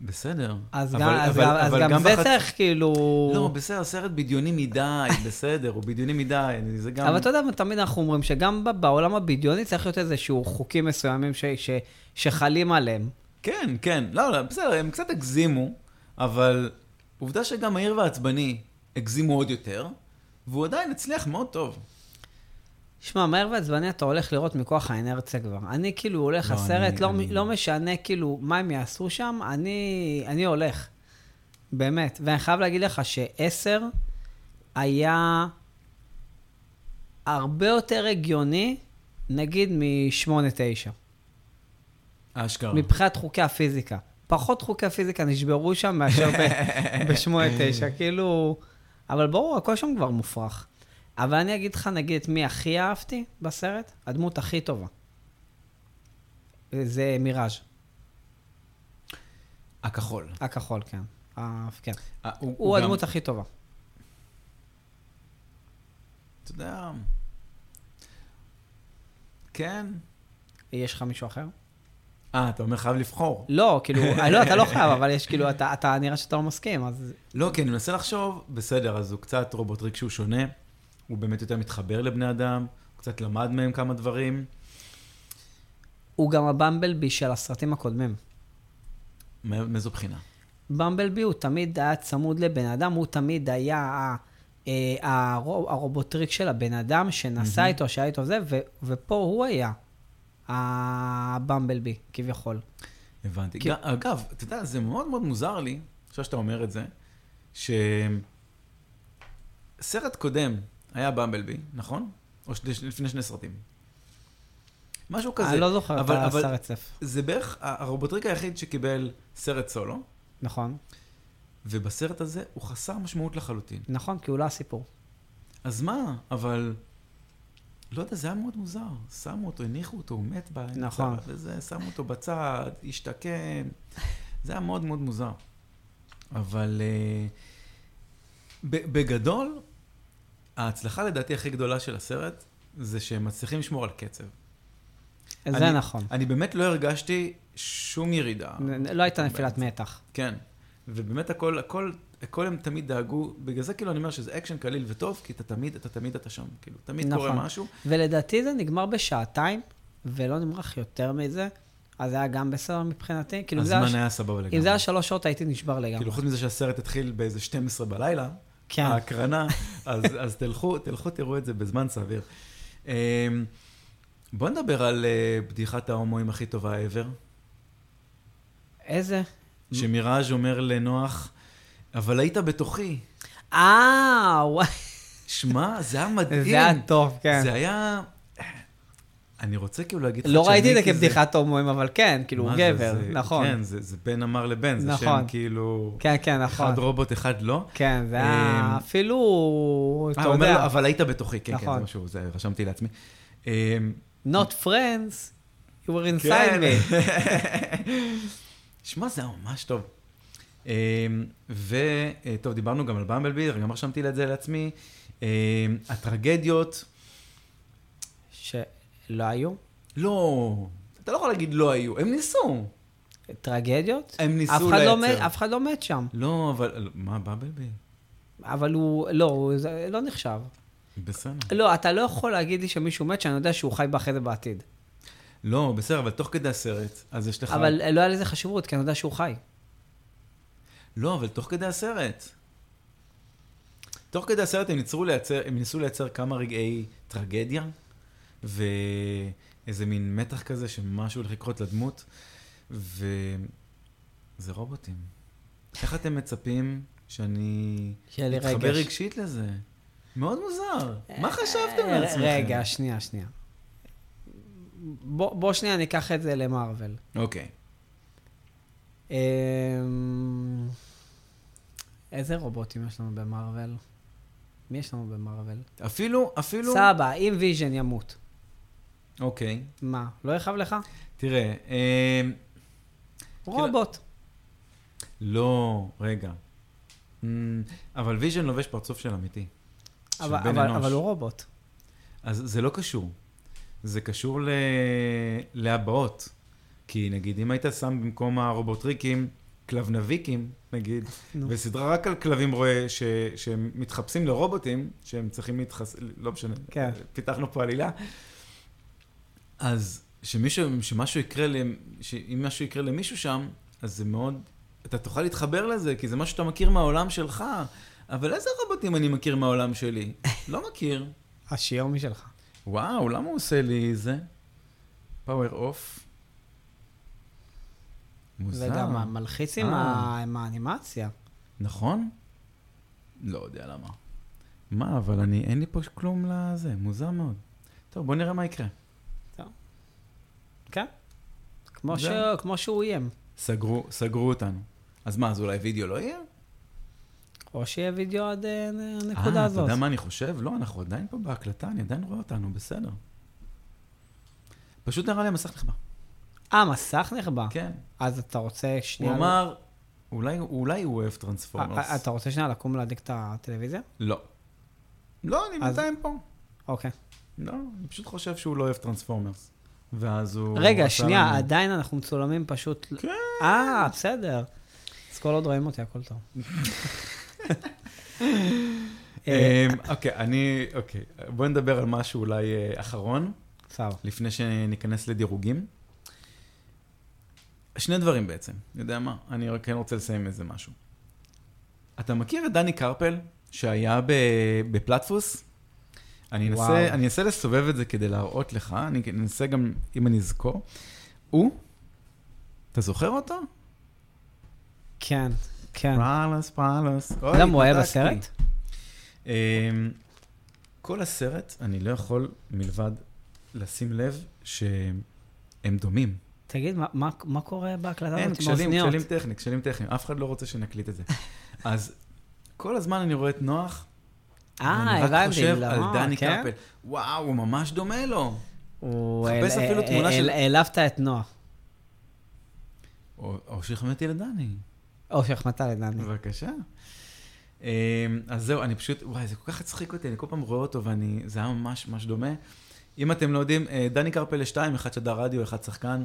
Speaker 1: בסדר.
Speaker 2: אז
Speaker 1: אבל-
Speaker 2: גם, אז,
Speaker 1: אבל-
Speaker 2: גם- אז
Speaker 1: אבל
Speaker 2: גם זה
Speaker 1: בחצ-
Speaker 2: צריך, כאילו...
Speaker 1: לא, בסדר, סרט בדיוני מדי, בסדר, הוא בדיוני מדי, אני- זה גם...
Speaker 2: אבל אתה יודע, תמיד אנחנו אומרים שגם ב- בעולם הבדיוני צריך להיות איזשהו חוקים מסוימים ש... ש... שחלים עליהם.
Speaker 1: כן, כן, לא, לא, בסדר, הם קצת הגזימו, אבל עובדה שגם מהיר ועצבני הגזימו עוד יותר, והוא עדיין הצליח מאוד טוב.
Speaker 2: שמע, מהר ועצבני אתה הולך לראות מכוח האנרציה כבר. אני כאילו הולך,
Speaker 1: לא,
Speaker 2: הסרט,
Speaker 1: אני-
Speaker 2: לא,
Speaker 1: אני-
Speaker 2: לא משנה כאילו מה הם יעשו שם, אני, אני הולך. באמת. ואני חייב להגיד לך שעשר היה הרבה יותר הגיוני, נגיד, משמונה-תשע.
Speaker 1: אשכרה.
Speaker 2: מבחינת חוקי הפיזיקה. פחות חוקי הפיזיקה נשברו שם מאשר ב-
Speaker 1: אה,
Speaker 2: בשמונה-תשע, כאילו... אבל ברור, הכל שם כבר מופרך. אבל אני אגיד לך, נגיד, את מי הכי אהבתי בסרט? הדמות הכי טובה. זה מיראז',
Speaker 1: הכחול.
Speaker 2: הכחול, כן. אה, כן.
Speaker 1: אה,
Speaker 2: הוא
Speaker 1: גם-
Speaker 2: הדמות הכי טובה.
Speaker 1: אתה יודע... כן.
Speaker 2: יש לך מישהו אחר?
Speaker 1: אה, אתה אומר חייב לבחור.
Speaker 2: לא, כאילו, אה, לא, אתה לא חייב, אבל יש כאילו, אתה, אתה נראה שאתה לא מסכים, אז...
Speaker 1: לא, כי אני מנסה לחשוב, בסדר, אז הוא קצת רובוטריק שהוא שונה, הוא באמת יותר מתחבר לבני אדם, הוא קצת למד מהם כמה דברים.
Speaker 2: הוא גם הבמבלבי של הסרטים הקודמים.
Speaker 1: מא- מאיזו בחינה?
Speaker 2: במבלבי הוא תמיד היה צמוד לבן אדם, הוא תמיד היה ה- אה, הרו- הרובוטריק של הבן אדם שנסע איתו, שהיה איתו זה, ו- ופה הוא היה הבמבלבי, כביכול.
Speaker 1: הבנתי.
Speaker 2: כי-
Speaker 1: גם- אגב, אתה יודע, זה מאוד מאוד מוזר לי, עכשיו שאתה אומר את זה, שסרט קודם היה במבלבי, נכון? או שני- לפני שני סרטים. משהו כזה.
Speaker 2: אני לא זוכר את
Speaker 1: אבל- אבל-
Speaker 2: הסרט סף.
Speaker 1: זה בערך הרובוטריק היחיד שקיבל סרט סולו,
Speaker 2: נכון,
Speaker 1: ובסרט הזה הוא חסר משמעות לחלוטין.
Speaker 2: נכון, כי הוא לא הסיפור.
Speaker 1: אז מה? אבל... לא יודע, זה היה מאוד מוזר. שמו אותו, הניחו אותו, הוא מת באמצע.
Speaker 2: נכון.
Speaker 1: וזה, שמו אותו בצד, השתקם. זה היה מאוד מאוד מוזר. אבל אה, ב- בגדול, ההצלחה לדעתי הכי גדולה של הסרט, זה שהם מצליחים לשמור על קצב.
Speaker 2: זה
Speaker 1: אני-
Speaker 2: נכון.
Speaker 1: אני באמת לא הרגשתי שום ירידה.
Speaker 2: נ- לא הייתה נפילת מתח.
Speaker 1: כן. ובאמת הכל, הכל, הכל הם תמיד דאגו, בגלל זה כאילו אני אומר שזה אקשן קליל וטוב, כי אתה תמיד, אתה תמיד, אתה שם. כאילו, תמיד נכון. קורה
Speaker 2: נכון.
Speaker 1: משהו.
Speaker 2: ולדעתי זה נגמר בשעתיים, ולא נמרח יותר מזה, אז זה היה גם בסדר מבחינתי. כאילו, אם זה היה-
Speaker 1: הזמן היה סבבה לגמרי.
Speaker 2: אם זה היה שלוש שעות הייתי נשבר לגמרי.
Speaker 1: כאילו, אה, חוץ מזה שהסרט התחיל באיזה 12 בלילה,
Speaker 2: כן.
Speaker 1: ההקרנה, אז, אז תלכו, תלכו, תראו את זה בזמן סביר. אמ, בוא נדבר על אה, בדיחת ההומואים הכי טובה ever,
Speaker 2: Mm-hmm. איזה?
Speaker 1: שמיראז' אומר לנוח, אבל היית בתוכי.
Speaker 2: אה, וואי.
Speaker 1: שמע, זה היה מדהים.
Speaker 2: זה היה טוב, כן.
Speaker 1: זה היה... אני רוצה כאילו להגיד לך
Speaker 2: לא ראיתי את
Speaker 1: שאני
Speaker 2: זה
Speaker 1: כי
Speaker 2: כבדיחת הומואים, אבל כן, כאילו, הוא
Speaker 1: מה
Speaker 2: גבר,
Speaker 1: זה, זה,
Speaker 2: נכון.
Speaker 1: כן, זה, זה בין אמר לבן, זה שם
Speaker 2: נכון.
Speaker 1: כאילו...
Speaker 2: כן, כן, נכון.
Speaker 1: אחד רובוט, אחד לא.
Speaker 2: כן, זה היה
Speaker 1: אמ,
Speaker 2: אפילו,
Speaker 1: אה,
Speaker 2: אתה
Speaker 1: הוא אומר לו,
Speaker 2: יודע,
Speaker 1: אבל היית בתוכי, כן, כן,
Speaker 2: נכון.
Speaker 1: זה משהו, זה רשמתי לעצמי. אמ,
Speaker 2: not friends, you were
Speaker 1: כן.
Speaker 2: inside me.
Speaker 1: שמע, זה היה ממש טוב. אמ, וטוב, דיברנו גם על במבלבי, גם רשמתי את זה לעצמי. אמ, הטרגדיות,
Speaker 2: שלא היו?
Speaker 1: לא, אתה לא יכול להגיד לא היו, הם ניסו.
Speaker 2: טרגדיות?
Speaker 1: הם ניסו
Speaker 2: אף אחד לא
Speaker 1: לייצר.
Speaker 2: מת- אף אחד לא מת שם.
Speaker 1: לא, אבל, מה, במבלבי?
Speaker 2: אבל הוא, לא, הוא זה לא נחשב.
Speaker 1: בסדר.
Speaker 2: לא, אתה לא יכול להגיד לי שמישהו מת, שאני יודע שהוא חי בה אחרי זה בעתיד.
Speaker 1: לא, בסדר, אבל תוך כדי הסרט, אז יש לך...
Speaker 2: אבל לא היה לזה חשיבות, כי אני יודע שהוא חי.
Speaker 1: לא, אבל תוך כדי הסרט. תוך כדי הסרט הם, ניצרו לייצר, הם ניסו לייצר כמה רגעי טרגדיה, ואיזה מין מתח כזה שמשהו הולך לקרות לדמות, וזה רובוטים. איך אתם מצפים שאני
Speaker 2: שיהיה לי
Speaker 1: אתחבר
Speaker 2: רגש.
Speaker 1: רגשית לזה? מאוד מוזר. מה חשבתם
Speaker 2: אה,
Speaker 1: לעצמכם?
Speaker 2: רגע, שנייה, שנייה. בוא בוא שנייה, אני אקח את זה למארוול.
Speaker 1: אוקיי.
Speaker 2: אמ, איזה רובוטים יש לנו במארוול? מי יש לנו במארוול?
Speaker 1: אפילו, אפילו...
Speaker 2: סבא, אם ויז'ן ימות.
Speaker 1: אוקיי.
Speaker 2: מה, לא יכאב לך?
Speaker 1: תראה, אה, כאילו-
Speaker 2: רובוט.
Speaker 1: לא, רגע. Mm, אבל ויז'ן לובש פרצוף של אמיתי. של
Speaker 2: אבל-
Speaker 1: בן
Speaker 2: אבל
Speaker 1: אנוש.
Speaker 2: אבל הוא רובוט.
Speaker 1: אז זה לא קשור. זה קשור ל... להבאות. כי נגיד, אם היית שם במקום הרובוטריקים, כלבנביקים, נגיד,
Speaker 2: נו.
Speaker 1: וסדרה רק על כלבים רואה ש... שהם מתחפשים לרובוטים, שהם צריכים להתחס... לא משנה,
Speaker 2: כן.
Speaker 1: פיתחנו פה עלילה, אז שמישהו, שמשהו יקרה, למ... שאם משהו יקרה למישהו שם, אז זה מאוד... אתה תוכל להתחבר לזה, כי זה משהו שאתה מכיר מהעולם שלך, אבל איזה רובוטים אני מכיר מהעולם שלי? לא מכיר.
Speaker 2: השיומי שלך.
Speaker 1: וואו, למה הוא עושה לי זה? פאוור אוף. מוזר.
Speaker 2: וגם המלחיץ עם
Speaker 1: אה.
Speaker 2: ה- עם האנימציה.
Speaker 1: נכון? לא יודע למה. מה, אבל אני, אין לי פה כלום לזה, מוזר מאוד. טוב, בוא נראה מה יקרה.
Speaker 2: כן. כמו ש-
Speaker 1: זהו.
Speaker 2: כמו שהוא איים.
Speaker 1: סגרו, סגרו אותנו. אז מה, אז אולי וידאו לא יהיה?
Speaker 2: או שיהיה וידאו עד אה, הנקודה
Speaker 1: אה, אתה
Speaker 2: הזאת.
Speaker 1: יודע מה אני חושב? לא, אנחנו עדיין פה בהקלטה, אני עדיין רואה אותנו, בסדר. פשוט נראה לי המסך נחבא.
Speaker 2: אה, מסך נחבא.
Speaker 1: כן.
Speaker 2: אז אתה רוצה
Speaker 1: הוא
Speaker 2: שנייה... לא.
Speaker 1: אמר, אולי, אולי הוא אוהב
Speaker 2: אה, אה,
Speaker 1: טרנספורמרס.
Speaker 2: אתה רוצה שנייה לקום להדליק את הטלוויזיה?
Speaker 1: לא. לא, אני
Speaker 2: אז-
Speaker 1: בינתיים פה.
Speaker 2: אוקיי.
Speaker 1: לא, אני פשוט חושב שהוא לא אוהב טרנספורמרס. ואז הוא...
Speaker 2: רגע,
Speaker 1: עשה
Speaker 2: שנייה,
Speaker 1: לנו-
Speaker 2: עדיין אנחנו מצולמים פשוט...
Speaker 1: כן.
Speaker 2: אה, בסדר. אז כל עוד רואים אותי, הכל טוב. אה,
Speaker 1: אמ, אוקיי, אני... אוקיי, בוא נדבר על משהו אולי אה, אחרון,
Speaker 2: סבבה.
Speaker 1: לפני שניכנס לדירוגים. שני דברים בעצם, יודע מה? אני רק כן רוצה לסיים איזה משהו. אתה מכיר את דני קרפל, שהיה ב... בפלטפוס? אני
Speaker 2: וואו.
Speaker 1: אנסה, אני אנסה לסובב את זה כדי להראות לך, אני כן- אנסה גם, אם אני אזכור. הוא? אתה זוכר אותו?
Speaker 2: כן, כן.
Speaker 1: פרלס, פרלס.
Speaker 2: גם הוא היה בסרט?
Speaker 1: אמ, כל הסרט, אני לא יכול מלבד לשים לב שהם דומים.
Speaker 2: תגיד, מה- מה- מה קורה בהקלטה
Speaker 1: אין,
Speaker 2: הזאת עם
Speaker 1: כשלים,
Speaker 2: האוזניות?
Speaker 1: כשלים טכניים, כשלים טכניים. אף אחד לא רוצה שנקליט את זה. אז כל הזמן אני רואה את נוח,
Speaker 2: אה,
Speaker 1: ואני רק
Speaker 2: הבנתי.
Speaker 1: חושב
Speaker 2: לא,
Speaker 1: על דני
Speaker 2: כן?
Speaker 1: קפל. וואו, הוא ממש דומה לו.
Speaker 2: הוא
Speaker 1: חפש
Speaker 2: העל-
Speaker 1: אפילו
Speaker 2: העל-
Speaker 1: תמונה של-
Speaker 2: העלבת את נועה.
Speaker 1: או או שהחמאתי לדני.
Speaker 2: או שהחמטה לדני.
Speaker 1: בבקשה. אמ, אז זהו, אני פשוט, וואי, זה כל כך הצחיק אותי, אני כל פעם רואה אותו ואני, זה היה ממש ממש דומה. אם אתם לא יודעים, אה, דני קרפל 2, אחד שדר רדיו, אחד שחקן.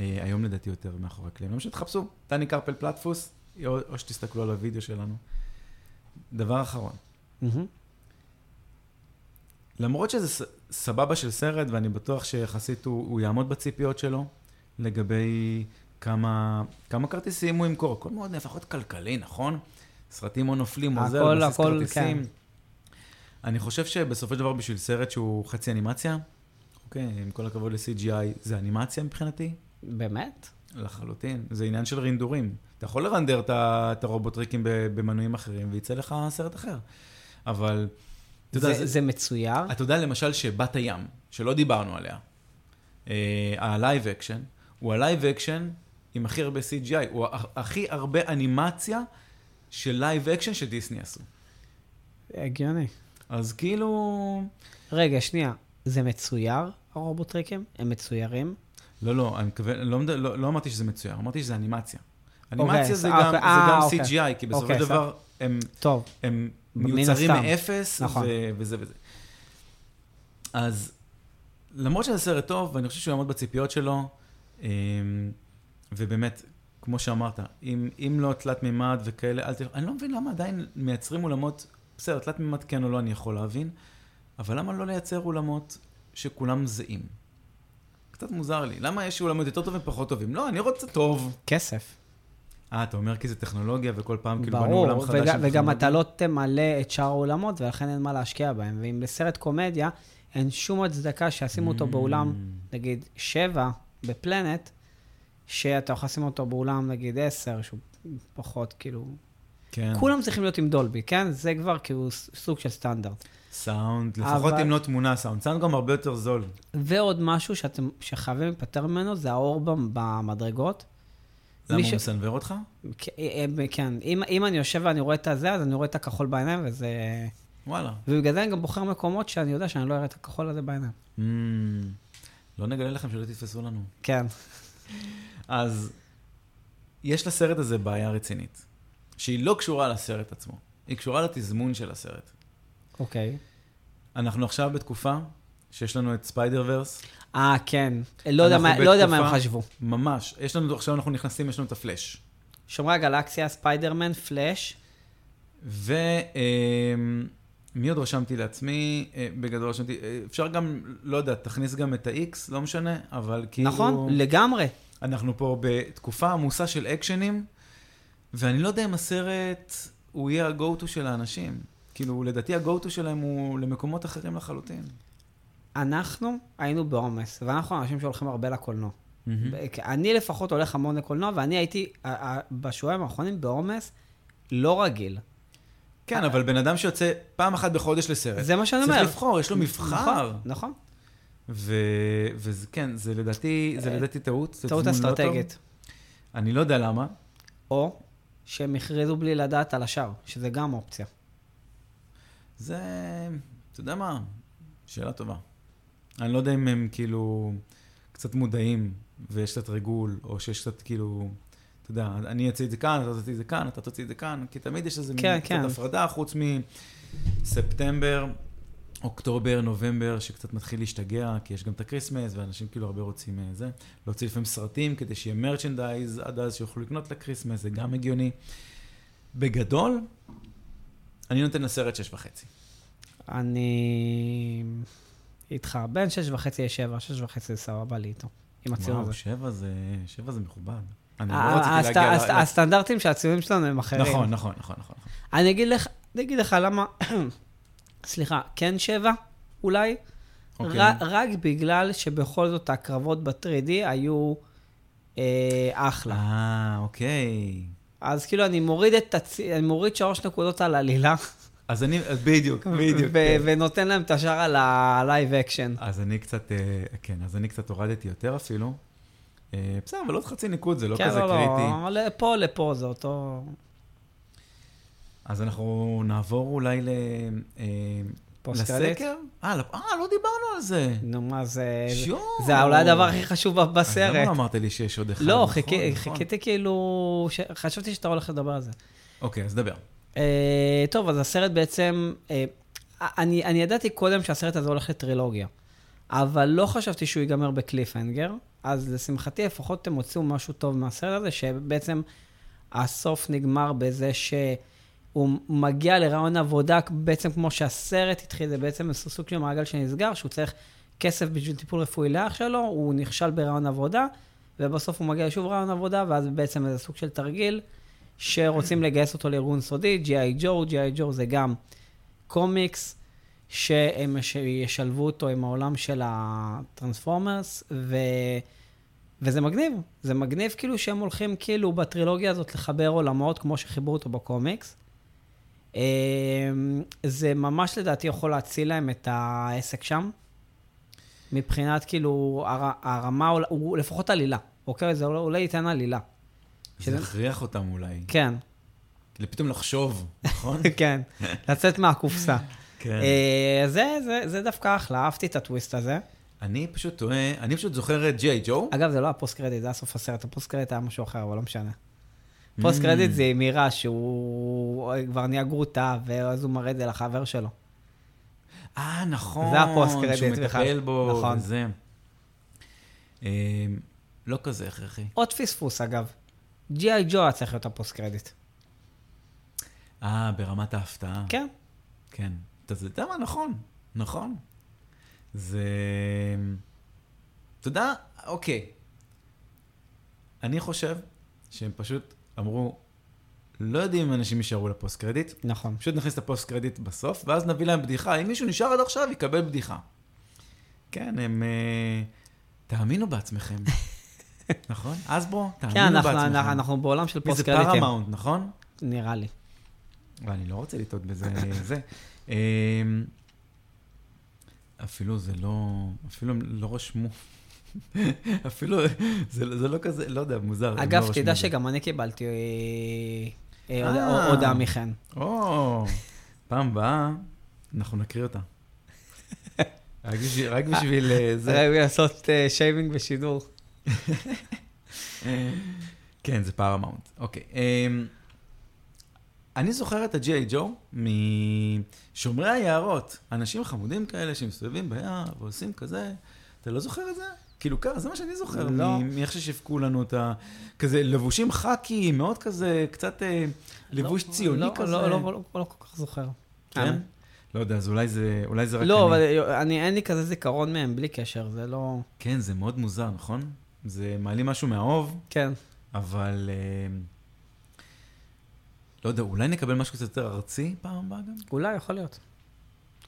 Speaker 1: אה, היום לדעתי יותר מאחורי הקלעים. למה שתחפשו, דני קרפל פלטפוס, או או שתסתכלו על הוידאו שלנו. דבר אחרון,
Speaker 2: מהמם.
Speaker 1: למרות שזה ס- סבבה של סרט, ואני בטוח שיחסית הוא, הוא יעמוד בציפיות שלו, לגבי כמה, כמה כרטיסים הוא ימכור. הכל מאוד לפחות כלכלי, נכון? סרטים או נופלים או זה,
Speaker 2: הכל-
Speaker 1: על בסיס
Speaker 2: הכל,
Speaker 1: כרטיסים.
Speaker 2: כן.
Speaker 1: אני חושב שבסופו של דבר בשביל סרט שהוא חצי אנימציה, אוקיי, עם כל הכבוד ל-CGI, זה אנימציה מבחינתי,
Speaker 2: באמת?
Speaker 1: לחלוטין. זה עניין של רינדורים. אתה יכול לרנדר את ה- את הרובוטריקים ב- במנויים אחרים, ויצא לך סרט אחר. אבל, אתה יודע,
Speaker 2: זה- זה מצויר.
Speaker 1: אתה יודע למשל שבת הים, שלא דיברנו עליה, אה, הלייב אקשן, הוא הלייב אקשן עם הכי הרבה CGI, הוא ה- הכי הרבה אנימציה של לייב אקשן שדיסני עשו.
Speaker 2: הגיוני.
Speaker 1: אז כאילו...
Speaker 2: רגע, שנייה. זה מצויר, הרובוטריקים? הם מצוירים?
Speaker 1: לא, לא, אני מתכוון, לא, מד- לא, לא אמרתי שזה מצויר, אמרתי שזה אנימציה. אנימציה
Speaker 2: אוקיי,
Speaker 1: זה,
Speaker 2: אה,
Speaker 1: גם,
Speaker 2: אוקיי,
Speaker 1: זה גם
Speaker 2: אה, אוקיי.
Speaker 1: CGI, כי בסופו
Speaker 2: אוקיי,
Speaker 1: של דבר הם,
Speaker 2: טוב.
Speaker 1: הם
Speaker 2: מן
Speaker 1: מיוצרים
Speaker 2: הסתם.
Speaker 1: מאפס,
Speaker 2: נכון.
Speaker 1: ו- וזה וזה. אז למרות שזה סרט טוב, ואני חושב שהוא יעמוד בציפיות שלו, אמ, ובאמת, כמו שאמרת, אם, אם לא תלת מימד וכאלה, אל תלך... אני לא מבין למה עדיין מייצרים אולמות, בסדר, תלת מימד כן או לא, אני יכול להבין, אבל למה לא לייצר אולמות שכולם זהים? קצת מוזר לי. למה יש אולמות יותר טובים ופחות טובים? לא, אני רוצה טוב.
Speaker 2: כסף.
Speaker 1: אה, אתה אומר כי זה טכנולוגיה, וכל פעם כאילו בנו
Speaker 2: ברור,
Speaker 1: עולם חדש.
Speaker 2: וג-
Speaker 1: של
Speaker 2: וגם
Speaker 1: טכנולוגיה?
Speaker 2: אתה לא תמלא את שאר האולמות, ולכן אין מה להשקיע בהם. ואם בסרט קומדיה, אין שום הצדקה שישימו
Speaker 1: Mm.
Speaker 2: אותו באולם, נגיד, שבע בפלנט, שאתה יכול לשים אותו באולם, נגיד, עשר, שהוא פחות, כאילו...
Speaker 1: כן.
Speaker 2: כולם צריכים להיות עם דולבי, כן? זה כבר כאילו ס- סוג של סטנדרט.
Speaker 1: סאונד, לפחות
Speaker 2: אבל-
Speaker 1: אם לא תמונה סאונד. סאונד גם הרבה יותר זול.
Speaker 2: ועוד משהו שאתם, שחייבים להיפטר ממנו, זה האור במ- במדרגות.
Speaker 1: למה
Speaker 2: מי
Speaker 1: הוא
Speaker 2: ש-
Speaker 1: מסנוור אותך?
Speaker 2: כ- אה, אה, כן, אם, אם אני יושב ואני רואה את הזה, אז אני רואה את הכחול בעיניים, וזה...
Speaker 1: וואלה.
Speaker 2: ובגלל זה אני גם בוחר מקומות שאני יודע שאני לא אראה את הכחול הזה בעיניים.
Speaker 1: Mm, לא נגלה לכם שלא תתפסו לנו.
Speaker 2: כן.
Speaker 1: אז יש לסרט הזה בעיה רצינית, שהיא לא קשורה לסרט עצמו, היא קשורה לתזמון של הסרט.
Speaker 2: אוקיי.
Speaker 1: אנחנו עכשיו בתקופה שיש לנו את ספיידר ורס,
Speaker 2: אה, כן. לא יודע
Speaker 1: אנחנו
Speaker 2: מה- לא יודע מה
Speaker 1: בתקופה-
Speaker 2: הם חשבו.
Speaker 1: ממש. יש לנו, עכשיו אנחנו נכנסים, יש לנו את הפלאש.
Speaker 2: שומרי הגלקסיה, ספיידרמן, פלאש.
Speaker 1: ומי אמ, עוד רשמתי לעצמי? אה, בגדול רשמתי, אה, אפשר גם, לא יודע, תכניס גם את ה-X, לא משנה, אבל כאילו...
Speaker 2: נכון? לגמרי.
Speaker 1: אנחנו פה בתקופה עמוסה של אקשנים, ואני לא יודע אם הסרט הוא יהיה ה-go-to של האנשים. כאילו, לדעתי ה-go-to שלהם הוא למקומות אחרים לחלוטין.
Speaker 2: אנחנו היינו בעומס, ואנחנו אנשים שהולכים הרבה לקולנוע. אני לפחות הולך המון לקולנוע, ואני הייתי אה, אה, בשבועיים האחרונים בעומס לא רגיל.
Speaker 1: כן, אבל בן אדם שיוצא פעם אחת בחודש לסרט,
Speaker 2: זה מה שאני אומר.
Speaker 1: אה, צריך לבחור, יש לו מבחר.
Speaker 2: נכון, נכון.
Speaker 1: ו- וזה כן, זה לדעתי, זה
Speaker 2: אה,
Speaker 1: לדעתי טעות. זה
Speaker 2: טעות
Speaker 1: תזמון לא
Speaker 2: אסטרטגית.
Speaker 1: טוב. אני לא יודע למה.
Speaker 2: או שהם הכריזו בלי לדעת על השאר, שזה גם אופציה.
Speaker 1: זה, אתה יודע מה, שאלה טובה. אני לא יודע אם הם כאילו קצת מודעים ויש קצת ריגול, או שיש קצת כאילו, אתה יודע, אני אציא את זה כאן, אתה תוציא את זה כאן, אתה תוציא את זה כאן, כי תמיד יש איזה מין
Speaker 2: כן,
Speaker 1: קצת
Speaker 2: כן.
Speaker 1: הפרדה, חוץ מספטמבר, אוקטובר, נובמבר, שקצת מתחיל להשתגע, כי יש גם את הקריסמס, ואנשים כאילו הרבה רוצים אה, זה, להוציא לפעמים סרטים כדי שיהיה מרצ'נדייז עד אז שיוכלו לקנות לקריסמס, זה גם הגיוני. בגדול, אני נותן לסרט שש וחצי.
Speaker 2: אני איתך, בין שש וחצי לשבע, שש וחצי זה סבבה לי איתו, עם הציון הזה.
Speaker 1: וואו, שבע זה, שבע זה מכובד. אוקיי. אני לא
Speaker 2: ה-
Speaker 1: רציתי
Speaker 2: הסט-
Speaker 1: להגיע...
Speaker 2: הסט-
Speaker 1: ל-
Speaker 2: הסטנדרטים של הציונים שלנו הם אחרים.
Speaker 1: נכון, נכון, נכון, נכון. נכון.
Speaker 2: אני אגיד לך, אני אגיד לך למה, סליחה, כן שבע, אולי,
Speaker 1: אוקיי.
Speaker 2: ר- רק בגלל שבכל זאת הקרבות ב-3D היו אה, אחלה.
Speaker 1: אה, אוקיי.
Speaker 2: אז כאילו אני מוריד את הצ... אני מוריד שלוש נקודות על עלילה,
Speaker 1: אז אני, אז בדיוק, בדיוק.
Speaker 2: ו-
Speaker 1: כן.
Speaker 2: ונותן להם את השאר על הלייב אקשן.
Speaker 1: אז אני קצת, אה, כן, אז אני קצת הורדתי יותר אפילו. אה, בסדר, אבל עוד חצי ניקוד, זה לא כזה קריטי.
Speaker 2: כן, לא, לפה, לפה זה אותו...
Speaker 1: אז אנחנו נעבור אולי ל- אה,
Speaker 2: פוסט קרדיט.
Speaker 1: לסקר? אה, לפ- אה, לא דיברנו על זה.
Speaker 2: נו, מה זה...
Speaker 1: שיו.
Speaker 2: זה אולי הדבר הכי חשוב ב-
Speaker 1: אז למה
Speaker 2: בסרט.
Speaker 1: לא אמרת לי שיש עוד אחד?
Speaker 2: לא,
Speaker 1: נכון,
Speaker 2: חיכי-
Speaker 1: נכון.
Speaker 2: חיכיתי כאילו... ש- חשבתי שאתה הולך לדבר על זה.
Speaker 1: אוקיי, אז דבר.
Speaker 2: אה, טוב, אז הסרט בעצם... אה, אני, אני ידעתי קודם שהסרט הזה הולך לטרילוגיה, אבל לא חשבתי שהוא ייגמר בקליפהנגר, אז לשמחתי לפחות הם הוציאו משהו טוב מהסרט הזה, שבעצם הסוף נגמר בזה שהוא מגיע לרעיון עבודה, בעצם כמו שהסרט התחיל, זה בעצם איזשהו סוג של מעגל שנסגר, שהוא צריך כסף בשביל טיפול רפואי לאח שלו, הוא נכשל ברעיון עבודה, ובסוף הוא מגיע לשוב רעיון עבודה, ואז בעצם איזה סוג של תרגיל, שרוצים לגייס אותו לארגון סודי, G.I. ג'ו, G.I. ג'ו זה גם קומיקס, שהם יש- ישלבו אותו עם העולם של הטרנספורמרס, ו... וזה מגניב. זה מגניב כאילו שהם הולכים כאילו בטרילוגיה הזאת לחבר עולמות כמו שחיברו אותו בקומיקס. אמ, זה ממש לדעתי יכול להציל להם את העסק שם. מבחינת כאילו הר... הרמה, אול- הוא לפחות עלילה, אוקיי? זה אולי ייתן עלילה.
Speaker 1: זה יכריח אותם אולי.
Speaker 2: כן.
Speaker 1: כאילו פתאום לחשוב, נכון?
Speaker 2: כן, לצאת מהקופסה.
Speaker 1: כן.
Speaker 2: אה, זה, זה, זה דווקא אחלה, אהבתי את הטוויסט הזה.
Speaker 1: אני פשוט טועה, אני פשוט זוכר את ג'יי ג'ו.
Speaker 2: אגב, זה לא הפוסט קרדיט, זה היה סוף הסרט, הפוסט קרדיט היה משהו אחר, אבל לא משנה.
Speaker 1: Mm.
Speaker 2: פוסט קרדיט זה אמירה שהוא כבר נהיה גרוטה, ואז הוא מראה את זה לחבר שלו.
Speaker 1: אה, נכון.
Speaker 2: זה הפוסט קרדיט,
Speaker 1: שהוא
Speaker 2: בכלל.
Speaker 1: מטפל בו,
Speaker 2: נכון.
Speaker 1: וזה. אה, לא כזה הכרחי.
Speaker 2: עוד פספוס, אגב. ג'י.איי ג'ו היה צריך להיות הפוסט קרדיט.
Speaker 1: אה, ברמת ההפתעה.
Speaker 2: כן,
Speaker 1: כן. אתה זה- אתה יודע מה, נכון, נכון. זה... אתה יודע, אוקיי. אני חושב שהם פשוט אמרו, לא יודעים אם אנשים יישארו לפוסט קרדיט,
Speaker 2: נכון.
Speaker 1: פשוט נכניס את הפוסט קרדיט בסוף, ואז נביא להם בדיחה. אם מישהו נשאר עד עכשיו, יקבל בדיחה. כן, הם... אה, תאמינו בעצמכם. נכון? אז בוא,
Speaker 2: כן,
Speaker 1: תאמינו
Speaker 2: אנחנו,
Speaker 1: בעצמכם.
Speaker 2: אנחנו, אנחנו בעולם של
Speaker 1: מי
Speaker 2: פוסט
Speaker 1: זה
Speaker 2: קרדיטים.
Speaker 1: פארמאונט, נכון?
Speaker 2: נראה לי.
Speaker 1: ואני לא רוצה לטעות בזה, זה. אמ, אפילו זה לא, אפילו הם לא רשמו. אפילו, זה, זה לא כזה, לא יודע, מוזר. הם לא
Speaker 2: אגב,
Speaker 1: רשמו
Speaker 2: תדע
Speaker 1: את זה.
Speaker 2: שגם אני קיבלתי אה, אה,
Speaker 1: אה.
Speaker 2: הודעה מחן.
Speaker 1: או, פעם הבאה, אנחנו נקריא אותה. רק בשביל, רק בשביל אה,
Speaker 2: זה
Speaker 1: זה.
Speaker 2: ראוי לעשות אה, שיימינג בשידור.
Speaker 1: כן, זה פארמאונט. אוקיי. אמ, אני זוכר את הג'יי ג'ו משומרי היערות. אנשים חמודים כאלה שמסתובבים ביער ועושים כזה. אתה לא זוכר את זה? כאילו ככה, זה מה שאני זוכר.
Speaker 2: לא.
Speaker 1: מ- מאיך ששיווקו לנו את ה... כזה לבושים חאקי, מאוד כזה, קצת אה, לבוש
Speaker 2: לא,
Speaker 1: ציוני
Speaker 2: לא,
Speaker 1: כזה.
Speaker 2: לא, לא, לא, לא, לא כל כך זוכר.
Speaker 1: כן? לא יודע, אז אולי זה, אולי זה רק
Speaker 2: לא,
Speaker 1: אני.
Speaker 2: אבל אני, אין לי כזה זיכרון מהם, בלי קשר, זה לא...
Speaker 1: כן, זה מאוד מוזר, נכון? זה מעלים משהו מהאוב,
Speaker 2: כן.
Speaker 1: אבל... אה, לא יודע, אולי נקבל משהו קצת יותר ארצי פעם הבאה גם?
Speaker 2: אולי, יכול להיות.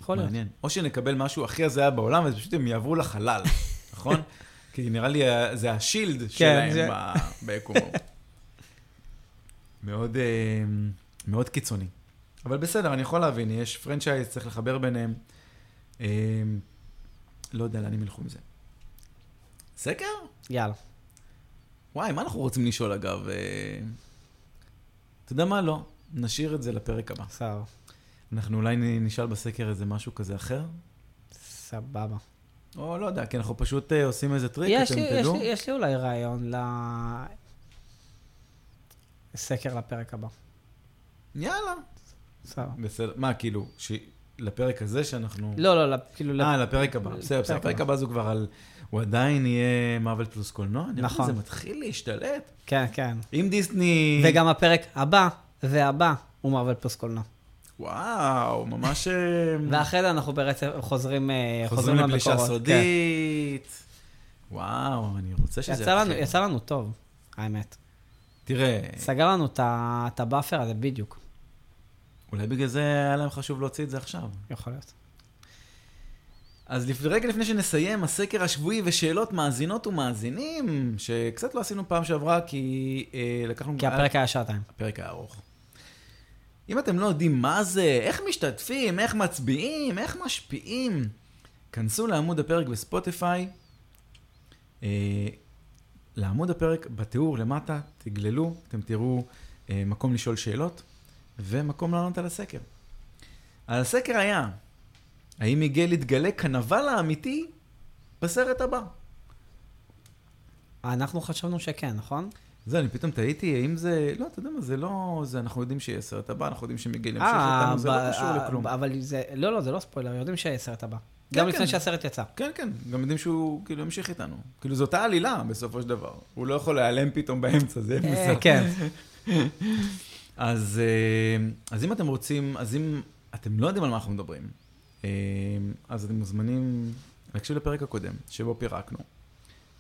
Speaker 2: יכול להיות.
Speaker 1: מעניין. או שנקבל משהו הכי הזיה בעולם, אז פשוט הם יעברו לחלל, נכון? כי נראה לי אה, זה השילד שלהם
Speaker 2: כן, זה-
Speaker 1: ב- ביקום. מאוד, אה, מאוד קיצוני. אבל בסדר, אני יכול להבין, יש פרנצ'ייז, צריך לחבר ביניהם. אה, לא יודע לאן הם ילכו עם זה. סקר?
Speaker 2: יאללה.
Speaker 1: וואי, מה אנחנו רוצים לשאול אגב? אה, אתה יודע מה? לא. נשאיר את זה לפרק הבא.
Speaker 2: בסדר.
Speaker 1: אנחנו אולי נ- נשאל בסקר איזה משהו כזה אחר?
Speaker 2: סבבה.
Speaker 1: או לא יודע, כי אנחנו פשוט אה, עושים איזה טריק,
Speaker 2: יש
Speaker 1: אתם
Speaker 2: לי, יש,
Speaker 1: תדעו.
Speaker 2: לי, יש לי אולי רעיון ל... סקר לפרק הבא.
Speaker 1: יאללה.
Speaker 2: בסדר.
Speaker 1: בסדר, מה כאילו, ש- לפרק הזה שאנחנו...
Speaker 2: לא, לא, לא, כאילו... לפ-
Speaker 1: אה, לפרק הבא. בסדר,
Speaker 2: לפרק
Speaker 1: בסדר, הפרק
Speaker 2: הבא.
Speaker 1: הבא זה כבר על... הוא עדיין יהיה מארוול פלוס קולנוע? נכון.
Speaker 2: נכון.
Speaker 1: זה מתחיל להשתלט.
Speaker 2: כן, כן.
Speaker 1: אם דיסני...
Speaker 2: וגם הפרק הבא והבא הוא מרוויל פלוס קולנוע.
Speaker 1: וואו, ממש... אה,
Speaker 2: ואחרי זה אנחנו ברצף חוזרים אה,
Speaker 1: חוזרים לפלישה
Speaker 2: למקורות, כן.
Speaker 1: סודית. וואו, אני רוצה שזה
Speaker 2: יצא לנו, יצא לנו טוב, האמת.
Speaker 1: תראה,
Speaker 2: סגר לנו את ה- את הבאפר הזה בדיוק,
Speaker 1: אולי בגלל זה היה להם חשוב להוציא את זה עכשיו.
Speaker 2: יכול להיות.
Speaker 1: אז לפ- רגע לפני שנסיים, הסקר השבועי ושאלות מאזינות ומאזינים, שקצת לא עשינו פעם שעברה, כי אה, לקחנו...
Speaker 2: כי הפרק היה שעתיים.
Speaker 1: הפרק היה ארוך. אם אתם לא יודעים מה זה, איך משתתפים, איך מצביעים, איך משפיעים, כנסו לעמוד הפרק בספוטיפיי. אה, לעמוד הפרק בתיאור למטה, תגללו, אתם תראו אה, מקום לשאול שאלות ומקום לענות על הסקר. על הסקר היה, האם מיגל יתגלה כנבל האמיתי בסרט הבא?
Speaker 2: אנחנו חשבנו שכן, נכון?
Speaker 1: זה, אני פתאום תהיתי, האם זה... לא, אתה יודע מה, זה לא... זה, אנחנו יודעים שיהיה סרט הבא, אנחנו יודעים שמיגל ימשיך
Speaker 2: אה,
Speaker 1: אותנו, זה
Speaker 2: ב-
Speaker 1: לא קשור
Speaker 2: אה,
Speaker 1: לכלום.
Speaker 2: ב- אבל זה... לא, לא, זה לא ספוילר, יודעים שיהיה סרט הבא. גם
Speaker 1: כן.
Speaker 2: לפני שהסרט יצא.
Speaker 1: כן, כן, גם יודעים שהוא כאילו ימשיך איתנו. כאילו, זאת העלילה בסופו של דבר. הוא לא יכול להיעלם פתאום באמצע, זה
Speaker 2: אה,
Speaker 1: מוזר.
Speaker 2: כן.
Speaker 1: אז, אה, אז אם אתם רוצים, אז אם אתם לא יודעים על מה אנחנו מדברים, אה, אז אתם מוזמנים להקשיב לפרק הקודם, שבו פירקנו,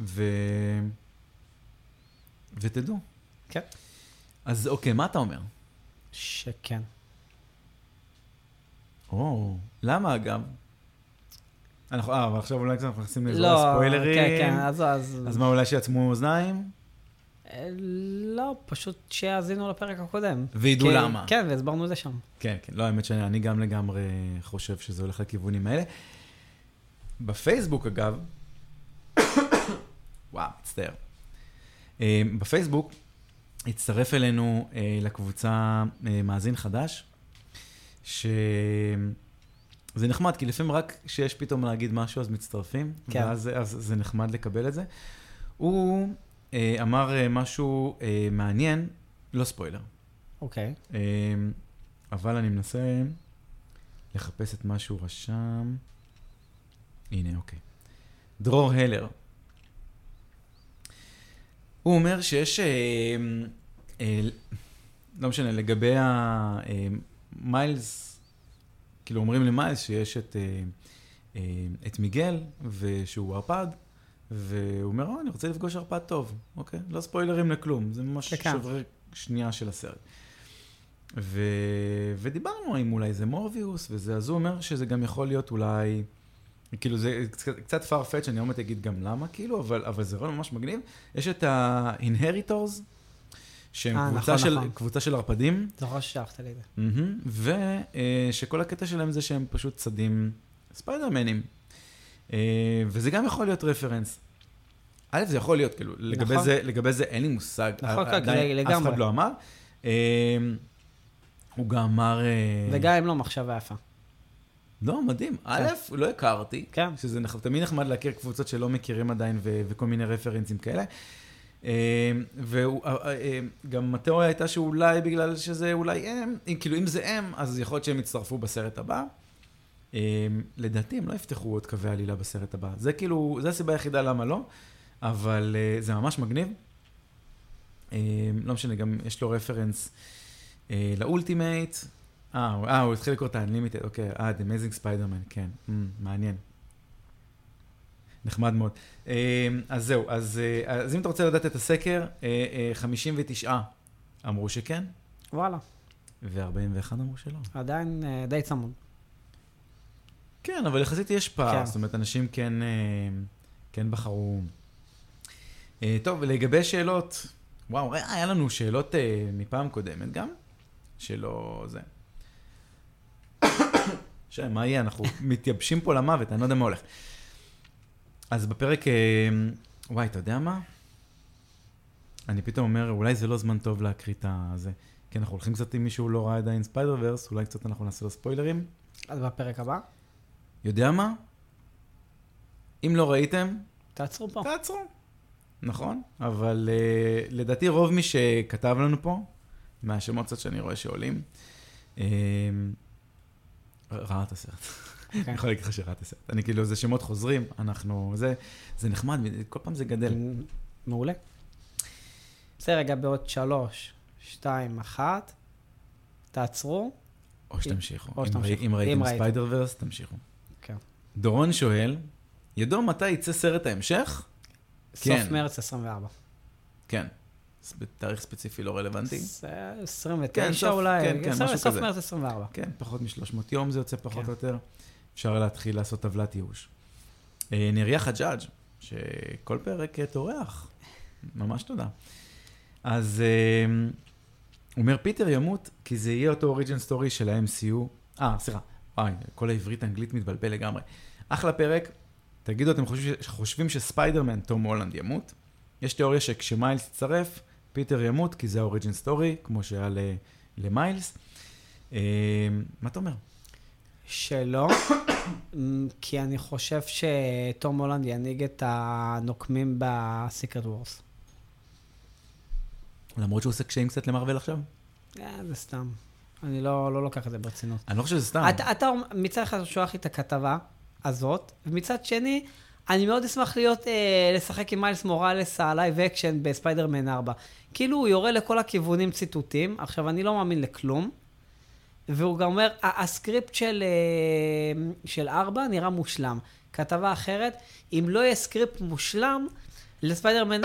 Speaker 1: ו... ותדעו.
Speaker 2: כן.
Speaker 1: אז אוקיי, מה אתה אומר?
Speaker 2: שכן.
Speaker 1: או, למה אגב? אנחנו, אה, אבל עכשיו אולי קצת אנחנו נכנסים לאזור
Speaker 2: לא,
Speaker 1: הספוילרים.
Speaker 2: כן, כן, אז... אז
Speaker 1: אז מה, אולי שיעצמו אוזניים?
Speaker 2: אה, לא, פשוט שיאזינו לפרק הקודם.
Speaker 1: וידעו
Speaker 2: כי-
Speaker 1: למה.
Speaker 2: כן, והסברנו את זה שם.
Speaker 1: כן, כן. לא, האמת שאני גם לגמרי חושב שזה הולך לכיוונים האלה. בפייסבוק, אגב, וואו, מצטער. אה, בפייסבוק הצטרף אלינו אה, לקבוצה אה, מאזין חדש, שזה נחמד, כי לפעמים רק כשיש פתאום להגיד משהו, אז מצטרפים,
Speaker 2: כן.
Speaker 1: כן. ואז אז זה נחמד לקבל את זה. הוא אה, אמר אה, משהו אה, מעניין, לא ספוילר.
Speaker 2: אוקיי.
Speaker 1: אמ, אבל אני מנסה לחפש את מה שהוא רשם. הנה, אוקיי. דרור הלר. הוא אומר שיש... אמ, אה, לא משנה, לגבי המיילס, כאילו אומרים למיילס שיש את, אה, אה, את מיגל, ושהוא ערפד, והוא אומר, "אה, אני רוצה לפגוש ערפד טוב, אוקיי? לא ספוילרים לכלום, זה ממש
Speaker 2: דקה.
Speaker 1: שוברי שנייה של הסרט. ו... ודיברנו האם אולי זה מורביוס וזה, אז הוא אומר שזה גם יכול להיות אולי, כאילו זה קצת- קצת farfetch, אני עוד מעט אגיד גם למה, כאילו, אבל, אבל זה רעיון ממש מגניב. יש את ה-inheritors, שהם
Speaker 2: אה,
Speaker 1: קבוצה,
Speaker 2: נכון,
Speaker 1: של,
Speaker 2: נכון.
Speaker 1: קבוצה של ערפדים,
Speaker 2: זוכר ששלחת לי את זה.
Speaker 1: ושכל הקטע שלהם זה שהם פשוט צדים ספיידרמנים. אה, וזה גם יכול להיות רפרנס. א', זה יכול להיות, כאילו, לגבי,
Speaker 2: נכון.
Speaker 1: זה, לגבי זה אין לי מושג. אה,
Speaker 2: נכון, כן,
Speaker 1: עדיין
Speaker 2: זה
Speaker 1: אף אחד
Speaker 2: לגמרי.
Speaker 1: לא אמר. אה, הוא גם אמר... אה,
Speaker 2: וגם כן. אם לא, מחשבה יפה.
Speaker 1: לא, מדהים. א', לא הכרתי,
Speaker 2: כן.
Speaker 1: שזה נח- תמיד נחמד להכיר קבוצות שלא מכירים עדיין ו- וכל מיני רפרנסים כאלה. אה, והוא, אה, אה, אה, גם התיאוריה הייתה שאולי בגלל שזה אולי הם, אם- כאילו אם זה הם, אז יכול להיות שהם יצטרפו בסרט הבא. אה, לדעתי הם לא יפתחו עוד קווי עלילה בסרט הבא. זה כאילו, זו הסיבה היחידה למה לא, אבל אה, זה ממש מגניב. אה, לא משנה, גם יש לו רפרנס אה, לאולטימייט. אה, הוא- אה, הוא התחיל לקרוא את ה-unlimited, אוקיי, אה, The Amazing Spider-Man, כן, mm, מעניין. נחמד מאוד. אה, אז זהו, אז, אה, אז אם אתה רוצה לדעת את הסקר, אה, אה, 59 אמרו שכן,
Speaker 2: וואלה,
Speaker 1: ו-41 אמרו שלא.
Speaker 2: עדיין אה, די צמוד.
Speaker 1: כן, אבל יחסית יש פער,
Speaker 2: כן.
Speaker 1: זאת אומרת, אנשים כן, אה, כן בחרו. אה, טוב, לגבי שאלות, וואו, אה, היה לנו שאלות אה, מפעם קודמת גם, שלא זה. שי, מה יהיה? אנחנו מתייבשים פה למוות, אני לא יודע מה הולך. אז בפרק, אה, וואי, אתה יודע מה? אני פתאום אומר, אולי זה לא זמן טוב להקריא את הזה. כי אנחנו הולכים קצת, אם מישהו לא ראה עדיין ספיידר ורס, אולי קצת אנחנו נעשה לו ספוילרים.
Speaker 2: אז בפרק הבא,
Speaker 1: יודע מה? אם לא ראיתם,
Speaker 2: תעצרו פה.
Speaker 1: תעצרו. נכון, אבל uh, לדעתי רוב מי שכתב לנו פה, מהשמות קצת שאני רואה שעולים, uh, ראה את הסרט.
Speaker 2: אוקיי.
Speaker 1: אני יכול להגיד לך שראה את הסרט. אני כאילו, זה שמות חוזרים, אנחנו, זה, זה נחמד, כל פעם זה גדל.
Speaker 2: מעולה. בסדר, רגע, בעוד שלוש, שתיים, אחת, תעצרו.
Speaker 1: או שתמשיכו.
Speaker 2: או
Speaker 1: אם
Speaker 2: שתמשיכו.
Speaker 1: ראי- אם
Speaker 2: אם
Speaker 1: ראיתם
Speaker 2: ראיתם.
Speaker 1: ספיידר ורס, תמשיכו.
Speaker 2: כן.
Speaker 1: דורון שואל, ידוע מתי יצא סרט ההמשך?
Speaker 2: סוף מרץ 24.
Speaker 1: כן. ס- בתאריך ספציפי לא רלוונטי.
Speaker 2: זה
Speaker 1: כן,
Speaker 2: 29
Speaker 1: סוף-
Speaker 2: אולי,
Speaker 1: כן, כן,
Speaker 2: בסדר,
Speaker 1: משהו
Speaker 2: סוף
Speaker 1: כזה.
Speaker 2: מרץ 24.
Speaker 1: כן, פחות מ-300 יום זה יוצא פחות
Speaker 2: כן.
Speaker 1: או יותר. אפשר להתחיל לעשות טבלת ייאוש. אה, נריה חג'אג', שכל פרק אה, טורח. ממש תודה. אז אה, הוא אומר, פיטר ימות, כי זה יהיה אותו אוריג'ן סטורי של ה-MCU. אה, סליחה. וואי, כל העברית-אנגלית מתבלבל לגמרי. אחלה פרק. תגידו, אתם חושבים, ש- חושבים שספיידרמן, תום הולנד, ימות? יש תיאוריה שכשמיילס יצטרף, פיטר ימות, כי זה האוריג'ן סטורי, כמו שהיה ל- למיילס. אה, מה אתה אומר?
Speaker 2: שלא, אמ, כי אני חושב שתום הולנד ינהיג את הנוקמים בסיקרט וורס.
Speaker 1: למרות שהוא עושה קשיים קצת למרוויל עכשיו?
Speaker 2: אה, זה סתם. אני לא, לא לוקח את זה ברצינות.
Speaker 1: אני לא חושב שזה סתם.
Speaker 2: אתה, אתה אומר- מצד אחד שולח לי את הכתבה הזאת, ומצד שני, אני מאוד אשמח להיות, אה, לשחק עם מיילס מוראלס הלייב אקשן בספיידרמן 4. כאילו הוא יורה לכל הכיוונים ציטוטים, עכשיו אני לא מאמין לכלום, והוא גם אומר, "ה- הסקריפט של, אה, של 4 נראה מושלם. כתבה אחרת, אם לא יהיה סקריפט מושלם, לספיידרמן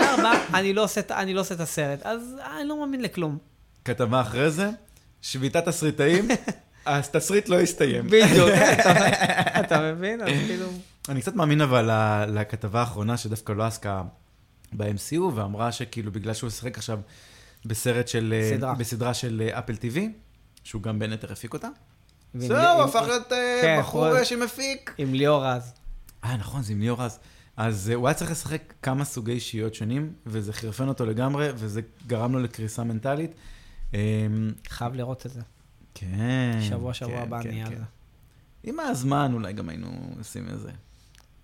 Speaker 2: 4, אני, לא עושה, את- אני לא עושה את הסרט. אז אה, אני לא מאמין לכלום.
Speaker 1: כתבה אחרי זה, שביתת תסריטאים, התסריט לא הסתיים.
Speaker 2: בדיוק, אתה- אתה מבין? אז כאילו...
Speaker 1: אני קצת מאמין אבל ל- לכתבה האחרונה שדווקא לא עסקה ב-MCU, ואמרה שכאילו בגלל שהוא שיחק עכשיו בסרט של... אה,
Speaker 2: סדרה.
Speaker 1: בסדרה של אה, אפל TV, שהוא גם בין היתר הפיק אותה.
Speaker 2: ועם-
Speaker 1: זהו,
Speaker 2: עם-
Speaker 1: הפך להיות אה,
Speaker 2: כן,
Speaker 1: בחור
Speaker 2: יכול-
Speaker 1: אה, שמפיק.
Speaker 2: עם ליאור אז.
Speaker 1: אה, נכון, זה עם ליאור אז. אז אה, הוא היה צריך לשחק כמה סוגי אישיות שונים, וזה חרפן אותו לגמרי, וזה גרם לו לקריסה מנטלית. אמ,
Speaker 2: חייב לראות את זה.
Speaker 1: כן.
Speaker 2: שבוע, שבוע
Speaker 1: כן,
Speaker 2: הבא
Speaker 1: כן,
Speaker 2: אני על
Speaker 1: כן.
Speaker 2: זה.
Speaker 1: עם הזמן אולי גם היינו עושים את זה.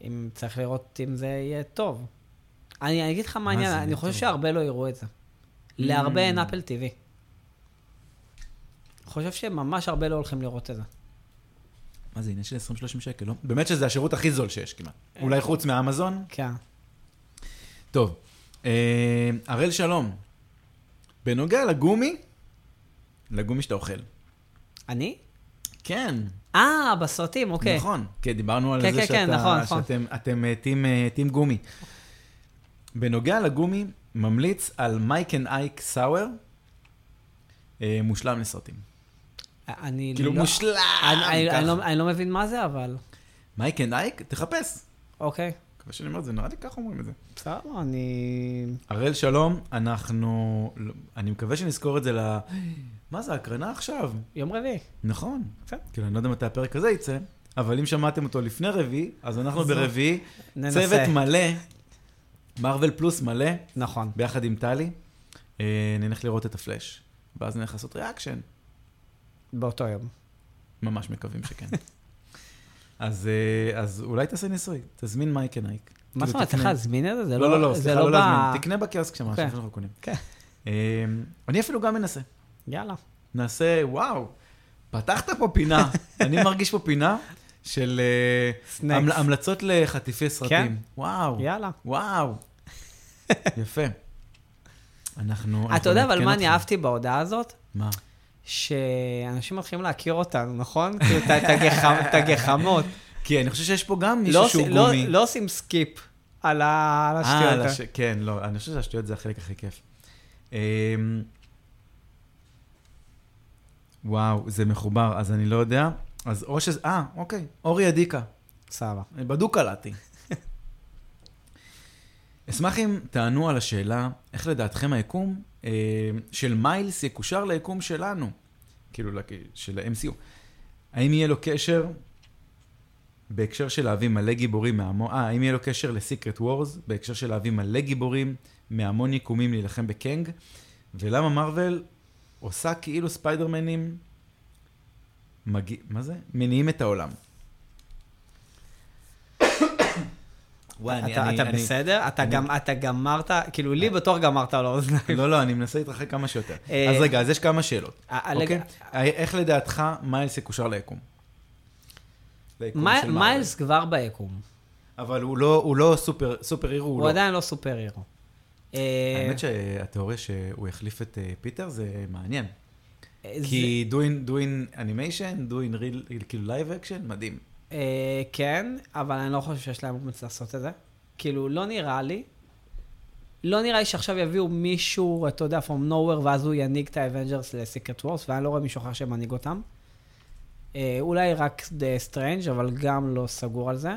Speaker 2: אם צריך לראות אם זה יהיה טוב. אני אני אגיד לך מה העניין,
Speaker 1: זה יהיה
Speaker 2: אני חושב
Speaker 1: טוב? Mm.
Speaker 2: שהרבה לא יראו את זה. להרבה אין אפל TV. חושב שממש הרבה לא הולכים לראות את זה.
Speaker 1: מה זה, עניין של 20-30 שקל, לא? באמת שזה השירות הכי זול שיש כמעט.
Speaker 2: אה.
Speaker 1: אולי חוץ מהאמזון?
Speaker 2: כן.
Speaker 1: טוב. אה, הראל שלום, בנוגע לגומי, לגומי שאתה אוכל.
Speaker 2: אני?
Speaker 1: כן,
Speaker 2: אה, בסרטים, אוקיי.
Speaker 1: נכון. כן, דיברנו על
Speaker 2: כן,
Speaker 1: זה
Speaker 2: כן, כן,
Speaker 1: שאתה-
Speaker 2: נכון, נכון.
Speaker 1: שאתם אתם, אה, טים, אה, טים גומי. בנוגע לגומי, ממליץ על מייק אנד אייק סאואר, אה, מושלם לסרטים.
Speaker 2: אני
Speaker 1: כאילו
Speaker 2: לא-
Speaker 1: מושלם!
Speaker 2: אני- אני- אני
Speaker 1: ככה.
Speaker 2: לא- אני לא מבין מה זה, אבל...
Speaker 1: מייק אנד אייק, תחפש.
Speaker 2: אוקיי.
Speaker 1: מקווה שאני אומר את זה, נראה לי ככה אומרים את זה.
Speaker 2: בסדר, אני...
Speaker 1: הראל שלום, אנחנו... לא, אני מקווה שנזכור את זה ל... מה זה, הקרנה עכשיו?
Speaker 2: יום רביעי.
Speaker 1: נכון.
Speaker 2: בסדר.
Speaker 1: כאילו, אני לא יודע מתי הפרק הזה יצא, אבל אם שמעתם אותו לפני רביעי, אז אנחנו
Speaker 2: אז-
Speaker 1: ברביעי.
Speaker 2: ננסה.
Speaker 1: צוות מלא, מרוויל פלוס מלא,
Speaker 2: נכון.
Speaker 1: ביחד עם טלי. אה, נלך לראות את הפלאש, ואז נלך לעשות ריאקשן.
Speaker 2: באותו יום.
Speaker 1: ממש מקווים שכן. אז, אה, אז אולי תעשה ניסוי, תזמין מייק אנייק.
Speaker 2: מה זאת אומרת, צריך להזמין את זה? זה
Speaker 1: כאילו לא, לא, לא,
Speaker 2: זה
Speaker 1: סליחה, לא
Speaker 2: ב-
Speaker 1: להזמין. תקנה בקיוסק שם,
Speaker 2: כן.
Speaker 1: עכשיו אנחנו קונים.
Speaker 2: כן.
Speaker 1: אה, אני אפילו גם מנסה.
Speaker 2: יאללה.
Speaker 1: נעשה, וואו, פתחת פה פינה. אני מרגיש פה פינה של אה,
Speaker 2: Snacks.
Speaker 1: המל- המלצות לחטיפי
Speaker 2: כן.
Speaker 1: סרטים. וואו,
Speaker 2: יאללה.
Speaker 1: וואו. יפה. אנחנו...
Speaker 2: אתה
Speaker 1: אנחנו
Speaker 2: יודע אבל
Speaker 1: נעדכן
Speaker 2: מה אני
Speaker 1: אותך.
Speaker 2: אהבתי בהודעה הזאת?
Speaker 1: מה?
Speaker 2: שאנשים מתחילים להכיר אותנו, נכון? כאילו, את- את הגח- את הגחמות.
Speaker 1: כי אני חושב שיש פה גם
Speaker 2: לא
Speaker 1: מישהו שהוא
Speaker 2: עושים- לא-
Speaker 1: גומי.
Speaker 2: לא עושים סקיפ על ה- על
Speaker 1: אה, על
Speaker 2: השטויות.
Speaker 1: הש- כן, לא, אני חושב שהשטויות זה החלק הכי כיף. אמ, וואו, זה מחובר, אז אני לא יודע. אז או שזה... אה, אוקיי, אורי אדיקה.
Speaker 2: סבבה.
Speaker 1: אני בדוק קלעתי. אשמח אם תענו על השאלה, איך לדעתכם היקום אה, של מיילס יקושר ליקום שלנו, כאילו לק- של ה-MCU. האם יהיה לו קשר, בהקשר של להביא מלא גיבורים מהמון, אה, האם יהיה לו קשר לסיקרט וורז, בהקשר של להביא מלא גיבורים מהמון יקומים להילחם בקנג, ולמה מארוול עושה כאילו ספיידרמנים, מגיע, מה זה? מניעים את העולם. וואי,
Speaker 2: אתה- אתה בסדר? אתה
Speaker 1: אני- אה.
Speaker 2: גם- אתה גמרת, כאילו, לי בטוח גמרת על האוזניים.
Speaker 1: לא, לא, אני מנסה להתרחק כמה שיותר.
Speaker 2: אה,
Speaker 1: אז רגע, אז יש כמה שאלות.
Speaker 2: ה- הלג-
Speaker 1: אוקיי? איך לדעתך מיילס יקושר ליקום? ליקום
Speaker 2: מי-
Speaker 1: של מארוול.
Speaker 2: מיילס כבר ביקום.
Speaker 1: אבל הוא לא, הוא לא סופר, סופר הירו, הוא
Speaker 2: הוא
Speaker 1: לא.
Speaker 2: עדיין לא סופר הירו. אה,
Speaker 1: האמת שהתיאוריה שהוא יחליף את אה, פיטר זה מעניין.
Speaker 2: אה,
Speaker 1: כי doing, doing animation, doing real, כאילו live action, מדהים.
Speaker 2: זה- אה, כן, אבל אני לא חושב שיש להם אומץ לעשות את זה. כאילו, לא נראה לי. לא נראה לי שעכשיו יביאו מישהו, אתה יודע, from nowhere, ואז הוא ינהיג את האבנג'רס לסיקרט וורס, ואני לא רואה מישהו אחר שמנהיג אותם. אה, אולי רק סטרנג', אבל גם לא סגור על זה.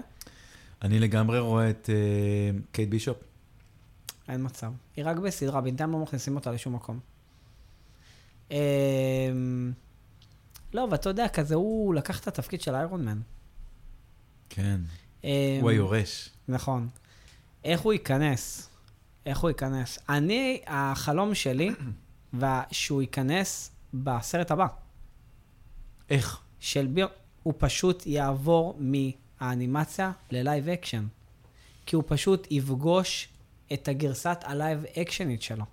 Speaker 1: אני לגמרי רואה את אה, קייט בישופ.
Speaker 2: אין מצב. היא רק בסדרה, בינתיים לא מכניסים אותה לשום מקום. אה, לא, ואתה יודע, כזה הוא לקח את התפקיד של איירון מן.
Speaker 1: כן.
Speaker 2: אה,
Speaker 1: הוא היורש.
Speaker 2: נכון. איך הוא ייכנס? איך הוא ייכנס? אני, החלום שלי, וה- שהוא ייכנס בסרט הבא,
Speaker 1: איך?
Speaker 2: של ביו... הוא פשוט יעבור מהאנימציה ללייב אקשן. כי הוא פשוט יפגוש את הגרסת הלייב אקשנית שלו.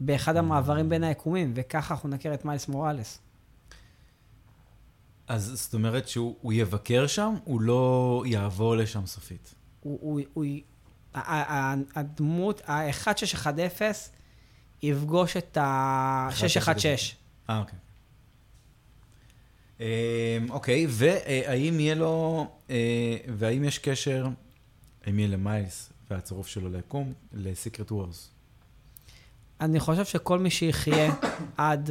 Speaker 2: באחד המעברים בין היקומים, וככה אנחנו נכיר את מיילס מוראלס.
Speaker 1: אז זאת אומרת שהוא הוא יבקר שם, הוא לא יעבור לשם סופית.
Speaker 2: הוא, הוא, הוא, ה- ה- ה- הדמות, ה-1610 יפגוש את ה-616.
Speaker 1: אה, אוקיי. אמ, אוקיי, והאם יהיה לו, אה, והאם יש קשר, האם יהיה למיילס והצירוף שלו ליקום, לסיקרט וורס?
Speaker 2: אני חושב שכל מי שיחיה עד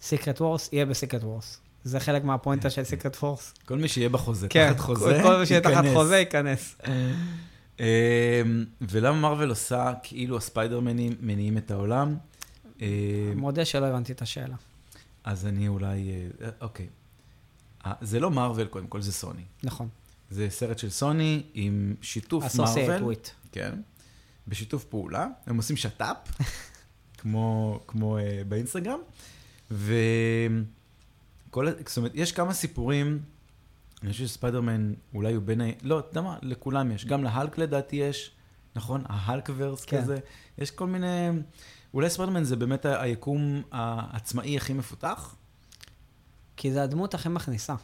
Speaker 2: סיקרט וורס, יהיה בסיקרט וורס. זה חלק מהפואנטה של סיקרט וורס.
Speaker 1: כל מי שיהיה בחוזה, תחת חוזה,
Speaker 2: כן, כל מי שיהיה תחת
Speaker 1: כן. ייכנס.
Speaker 2: חוזה ייכנס.
Speaker 1: אמ, ולמה מרוויל עושה כאילו הספיידרמנים מניעים את העולם? אמ,
Speaker 2: מודה שלא הבנתי את השאלה.
Speaker 1: אז אני אולי, אה, אוקיי. אה, זה לא מרוויל קודם כל, זה סוני.
Speaker 2: נכון.
Speaker 1: זה סרט של סוני עם שיתוף
Speaker 2: אסוסייט
Speaker 1: מרוויל.
Speaker 2: וויט.
Speaker 1: כן. בשיתוף פעולה, הם עושים שת"פ, כמו, כמו אה, באינסטגרם. וכל, ה- זאת אומרת, יש כמה סיפורים, אני חושב שספיידרמן אולי הוא בין ה... לא, אתה יודע מה, לכולם יש. גם להלק לדעתי יש, נכון? ההלקוורס
Speaker 2: כן.
Speaker 1: כן. כזה. יש כל מיני... אולי ספיידרמן זה באמת ה- היקום העצמאי הכי מפותח?
Speaker 2: כי זה הדמות הכי מכניסה.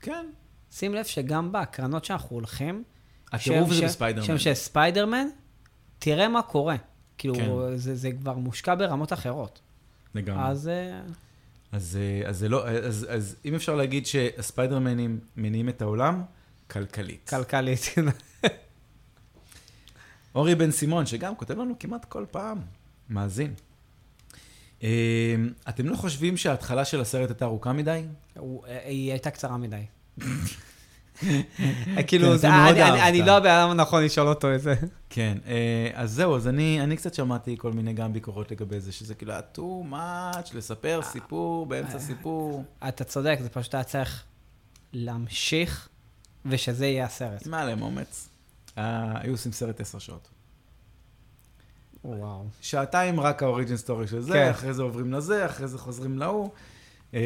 Speaker 1: כן.
Speaker 2: שים לב שגם בהקרנות שאנחנו הולכים,
Speaker 1: הטירוף
Speaker 2: שם
Speaker 1: זה
Speaker 2: ש-
Speaker 1: בספיידרמן.
Speaker 2: שם שספיידרמן, תראה מה קורה. כאילו,
Speaker 1: כן.
Speaker 2: זה, זה כבר מושקע ברמות אחרות.
Speaker 1: לגמרי.
Speaker 2: אז אה,
Speaker 1: אז, אה, אז, זה לא, אז, אז אם אפשר להגיד שהספיידרמנים מניעים את העולם, כלכלית.
Speaker 2: כלכלית.
Speaker 1: אורי בן סימון, שגם כותב לנו כמעט כל פעם, מאזין. אמ, אתם לא חושבים שההתחלה של הסרט הייתה ארוכה מדי?
Speaker 2: הוא- אה, היא הייתה קצרה מדי. אה, כאילו,
Speaker 1: כן,
Speaker 2: זה-
Speaker 1: אתה מאוד
Speaker 2: אני- אני-
Speaker 1: אהבת.
Speaker 2: אני לא הבן אדם הנכון לשאול אותו את זה.
Speaker 1: כן, אה, אז זהו, אז אני, אני קצת שמעתי כל מיני גם ביקורות לגבי זה, שזה כאילו היה too much, לספר סיפור באמצע סיפור.
Speaker 2: אתה צודק, זה פשוט היה צריך להמשיך, ושזה יהיה הסרט.
Speaker 1: מה להם אומץ? אה, היו עושים סרט עשר שעות.
Speaker 2: וואו.
Speaker 1: שעתיים רק האוריג'ין סטורי של זה,
Speaker 2: כן.
Speaker 1: כן. אחרי זה עוברים לזה, אחרי זה חוזרים להוא. אמ,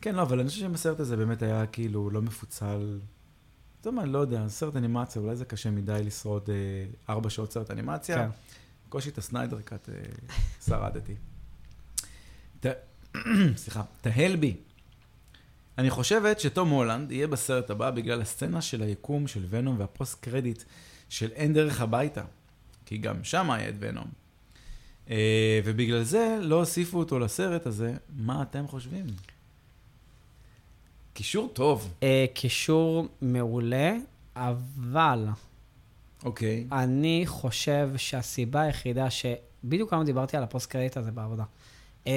Speaker 1: כן, לא, אבל אני חושב שהסרט הזה באמת היה כאילו לא מפוצל. אתה יודע מה, לא יודע, סרט אנימציה, אולי זה קשה מדי לשרוד אה, ארבע שעות סרט אנימציה.
Speaker 2: כן.
Speaker 1: כן. קושי את הסניידר קאט אה, שרדתי. ת... סליחה, תהל בי. אני חושבת שתום הולנד יהיה בסרט הבא בגלל הסצנה של היקום של ונום והפוסט קרדיט של אין דרך הביתה. כי גם שם היה את ונום. אה, ובגלל זה לא הוסיפו אותו לסרט הזה, מה אתם חושבים? קישור טוב.
Speaker 2: אה, קישור מעולה, אבל
Speaker 1: אוקיי.
Speaker 2: אני חושב שהסיבה היחידה ש... בדיוק היום דיברתי על הפוסט קרדיט הזה בעבודה. אה,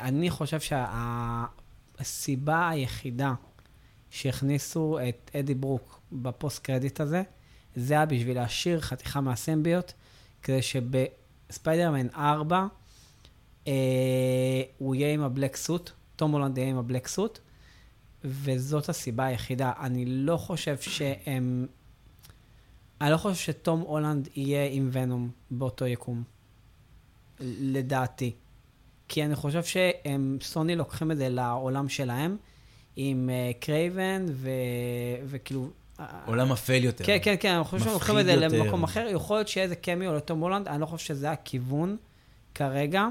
Speaker 2: אני חושב שהסיבה היחידה שהכניסו את אדי ברוק בפוסט קרדיט הזה, זה היה בשביל להשאיר חתיכה מהסמביות, כדי שבספיידרמן 4 אה, הוא יהיה עם הבלק סוט, תום הולנד יהיה עם הבלק סוט, וזאת הסיבה היחידה. אני לא חושב שהם אני לא חושב שתום הולנד יהיה עם ונום באותו יקום, לדעתי. כי אני חושב שסוני לוקחים את זה לעולם שלהם, עם אה, קרייבן ו... וכאילו... אה,
Speaker 1: עולם אפל יותר.
Speaker 2: כן, כן, כן, אני חושב שהם לוקחים את זה
Speaker 1: מפחיד יותר.
Speaker 2: למקום אחר. יכול להיות שיהיה איזה קמיו לתום הולנד, אני לא חושב שזה הכיוון כרגע.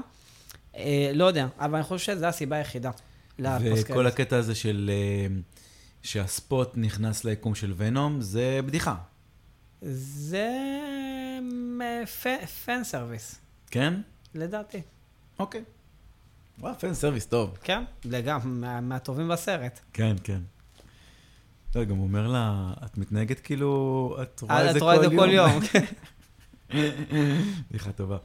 Speaker 2: אה, לא יודע, אבל אני חושב שזו הסיבה היחידה. לפוסט
Speaker 1: וכל
Speaker 2: קרדיט.
Speaker 1: הקטע הזה של... אה, שהספוט נכנס ליקום של ונום, זה בדיחה,
Speaker 2: זה פן סרוויס,
Speaker 1: כן?
Speaker 2: לדעתי.
Speaker 1: אוקיי. וואו, פן סרוויס טוב.
Speaker 2: כן, לגמרי, מה- מהטובים בסרט.
Speaker 1: כן, כן. לא, גם הוא אומר לה, את מתנהגת כאילו, את רואה את
Speaker 2: אה,
Speaker 1: זה
Speaker 2: את רואה את זה כל יום.
Speaker 1: בדיחה טובה.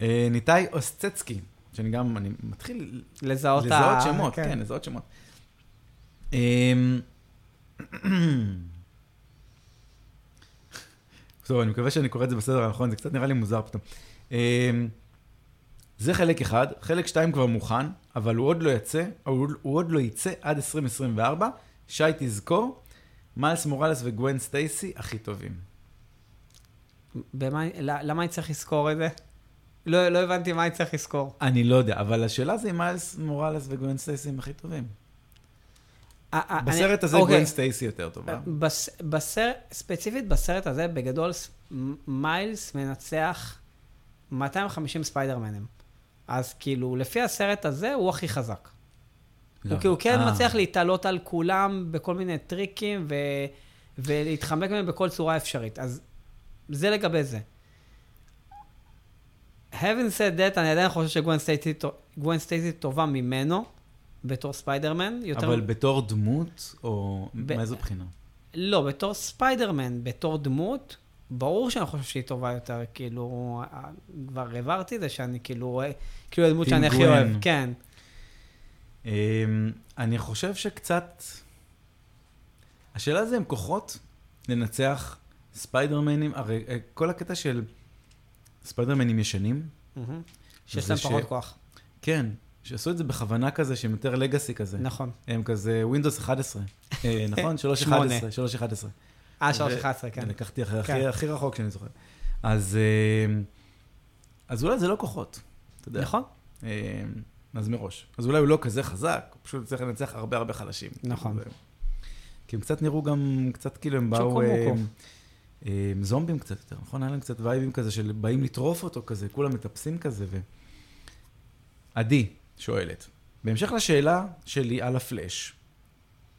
Speaker 1: אה, ניתאי אוסצצקי, שאני גם, אני מתחיל
Speaker 2: לזהות ה-
Speaker 1: לזהות שמות, כן, לזהות שמות. אמ, טוב, אני מקווה שאני קורא את זה בסדר הנכון, זה קצת נראה לי מוזר פתאום. אמ, זה חלק אחד, חלק שתיים כבר מוכן, אבל הוא עוד לא יצא, הוא עוד- הוא עוד לא יצא עד 2024. שי תזכור, מיילס מוראלס וגווין סטייסי הכי טובים.
Speaker 2: במה- ל- למה אני צריך לזכור את זה? לא לא הבנתי מה אני צריך לזכור.
Speaker 1: אני לא יודע, אבל השאלה זה אם מיילס מוראלס וגווין סטייסי הם הכי טובים.
Speaker 2: א- ה- ה-
Speaker 1: בסרט
Speaker 2: אה, אני-
Speaker 1: הזה
Speaker 2: אוקיי.
Speaker 1: גווין סטייסי יותר אה? טובה.
Speaker 2: בס, בסר, ספציפית בסרט הזה, בגדול, ס- מ- מיילס מנצח 250 ספיידרמנים. אז כאילו, לפי הסרט הזה, הוא הכי חזק. לא. הוא כאילו כן
Speaker 1: אה.
Speaker 2: מצליח להתעלות על כולם בכל מיני טריקים ו... ולהתחמק מהם בכל צורה אפשרית. אז זה לגבי זה. Having said that, אני עדיין חושב שגווין סטייסי טו- גווין סטייסי טובה ממנו, בתור ספיידרמן. יותר...
Speaker 1: אבל בתור דמות, או
Speaker 2: ב-
Speaker 1: מאיזו בחינה?
Speaker 2: לא, בתור ספיידרמן, בתור דמות, ברור שאני חושב שהיא טובה יותר, כאילו, אה, כבר הבהרתי את זה שאני כאילו רואה, כאילו הדמות שאני הכי
Speaker 1: פינגווין.
Speaker 2: אוהב, כן.
Speaker 1: אמ, אני חושב שקצת... השאלה זה אם כוחות לנצח ספיידרמנים, הרי אה, כל הקטע של ספיידרמנים ישנים,
Speaker 2: מהמם. שיש להם
Speaker 1: Mhm. ש-
Speaker 2: פחות כוח,
Speaker 1: כן, שעשו את זה בכוונה כזה, שהם יותר לגאסי כזה.
Speaker 2: נכון.
Speaker 1: הם כזה Windows 11, אה, נכון? 3.11, 3.11.
Speaker 2: אה,
Speaker 1: ו-
Speaker 2: 311, כן.
Speaker 1: לקחתי הכי,
Speaker 2: כן.
Speaker 1: הכי, הכי רחוק שאני זוכר. אז, אה, אז אולי זה לא כוחות, אתה יודע.
Speaker 2: נכון,
Speaker 1: אה, אז מראש. אז אולי הוא לא כזה חזק, הוא פשוט צריך לנצח הרבה הרבה חלשים.
Speaker 2: נכון.
Speaker 1: ו- כי הם קצת נראו גם, קצת כאילו הם באו...
Speaker 2: צ'וקו מוקו.
Speaker 1: אה, אה, זומבים קצת יותר, נכון? היה להם קצת וייבים כזה של באים לטרוף אותו כזה, כולם מטפסים כזה ו... עדי שואלת, בהמשך לשאלה שלי על הפלאש,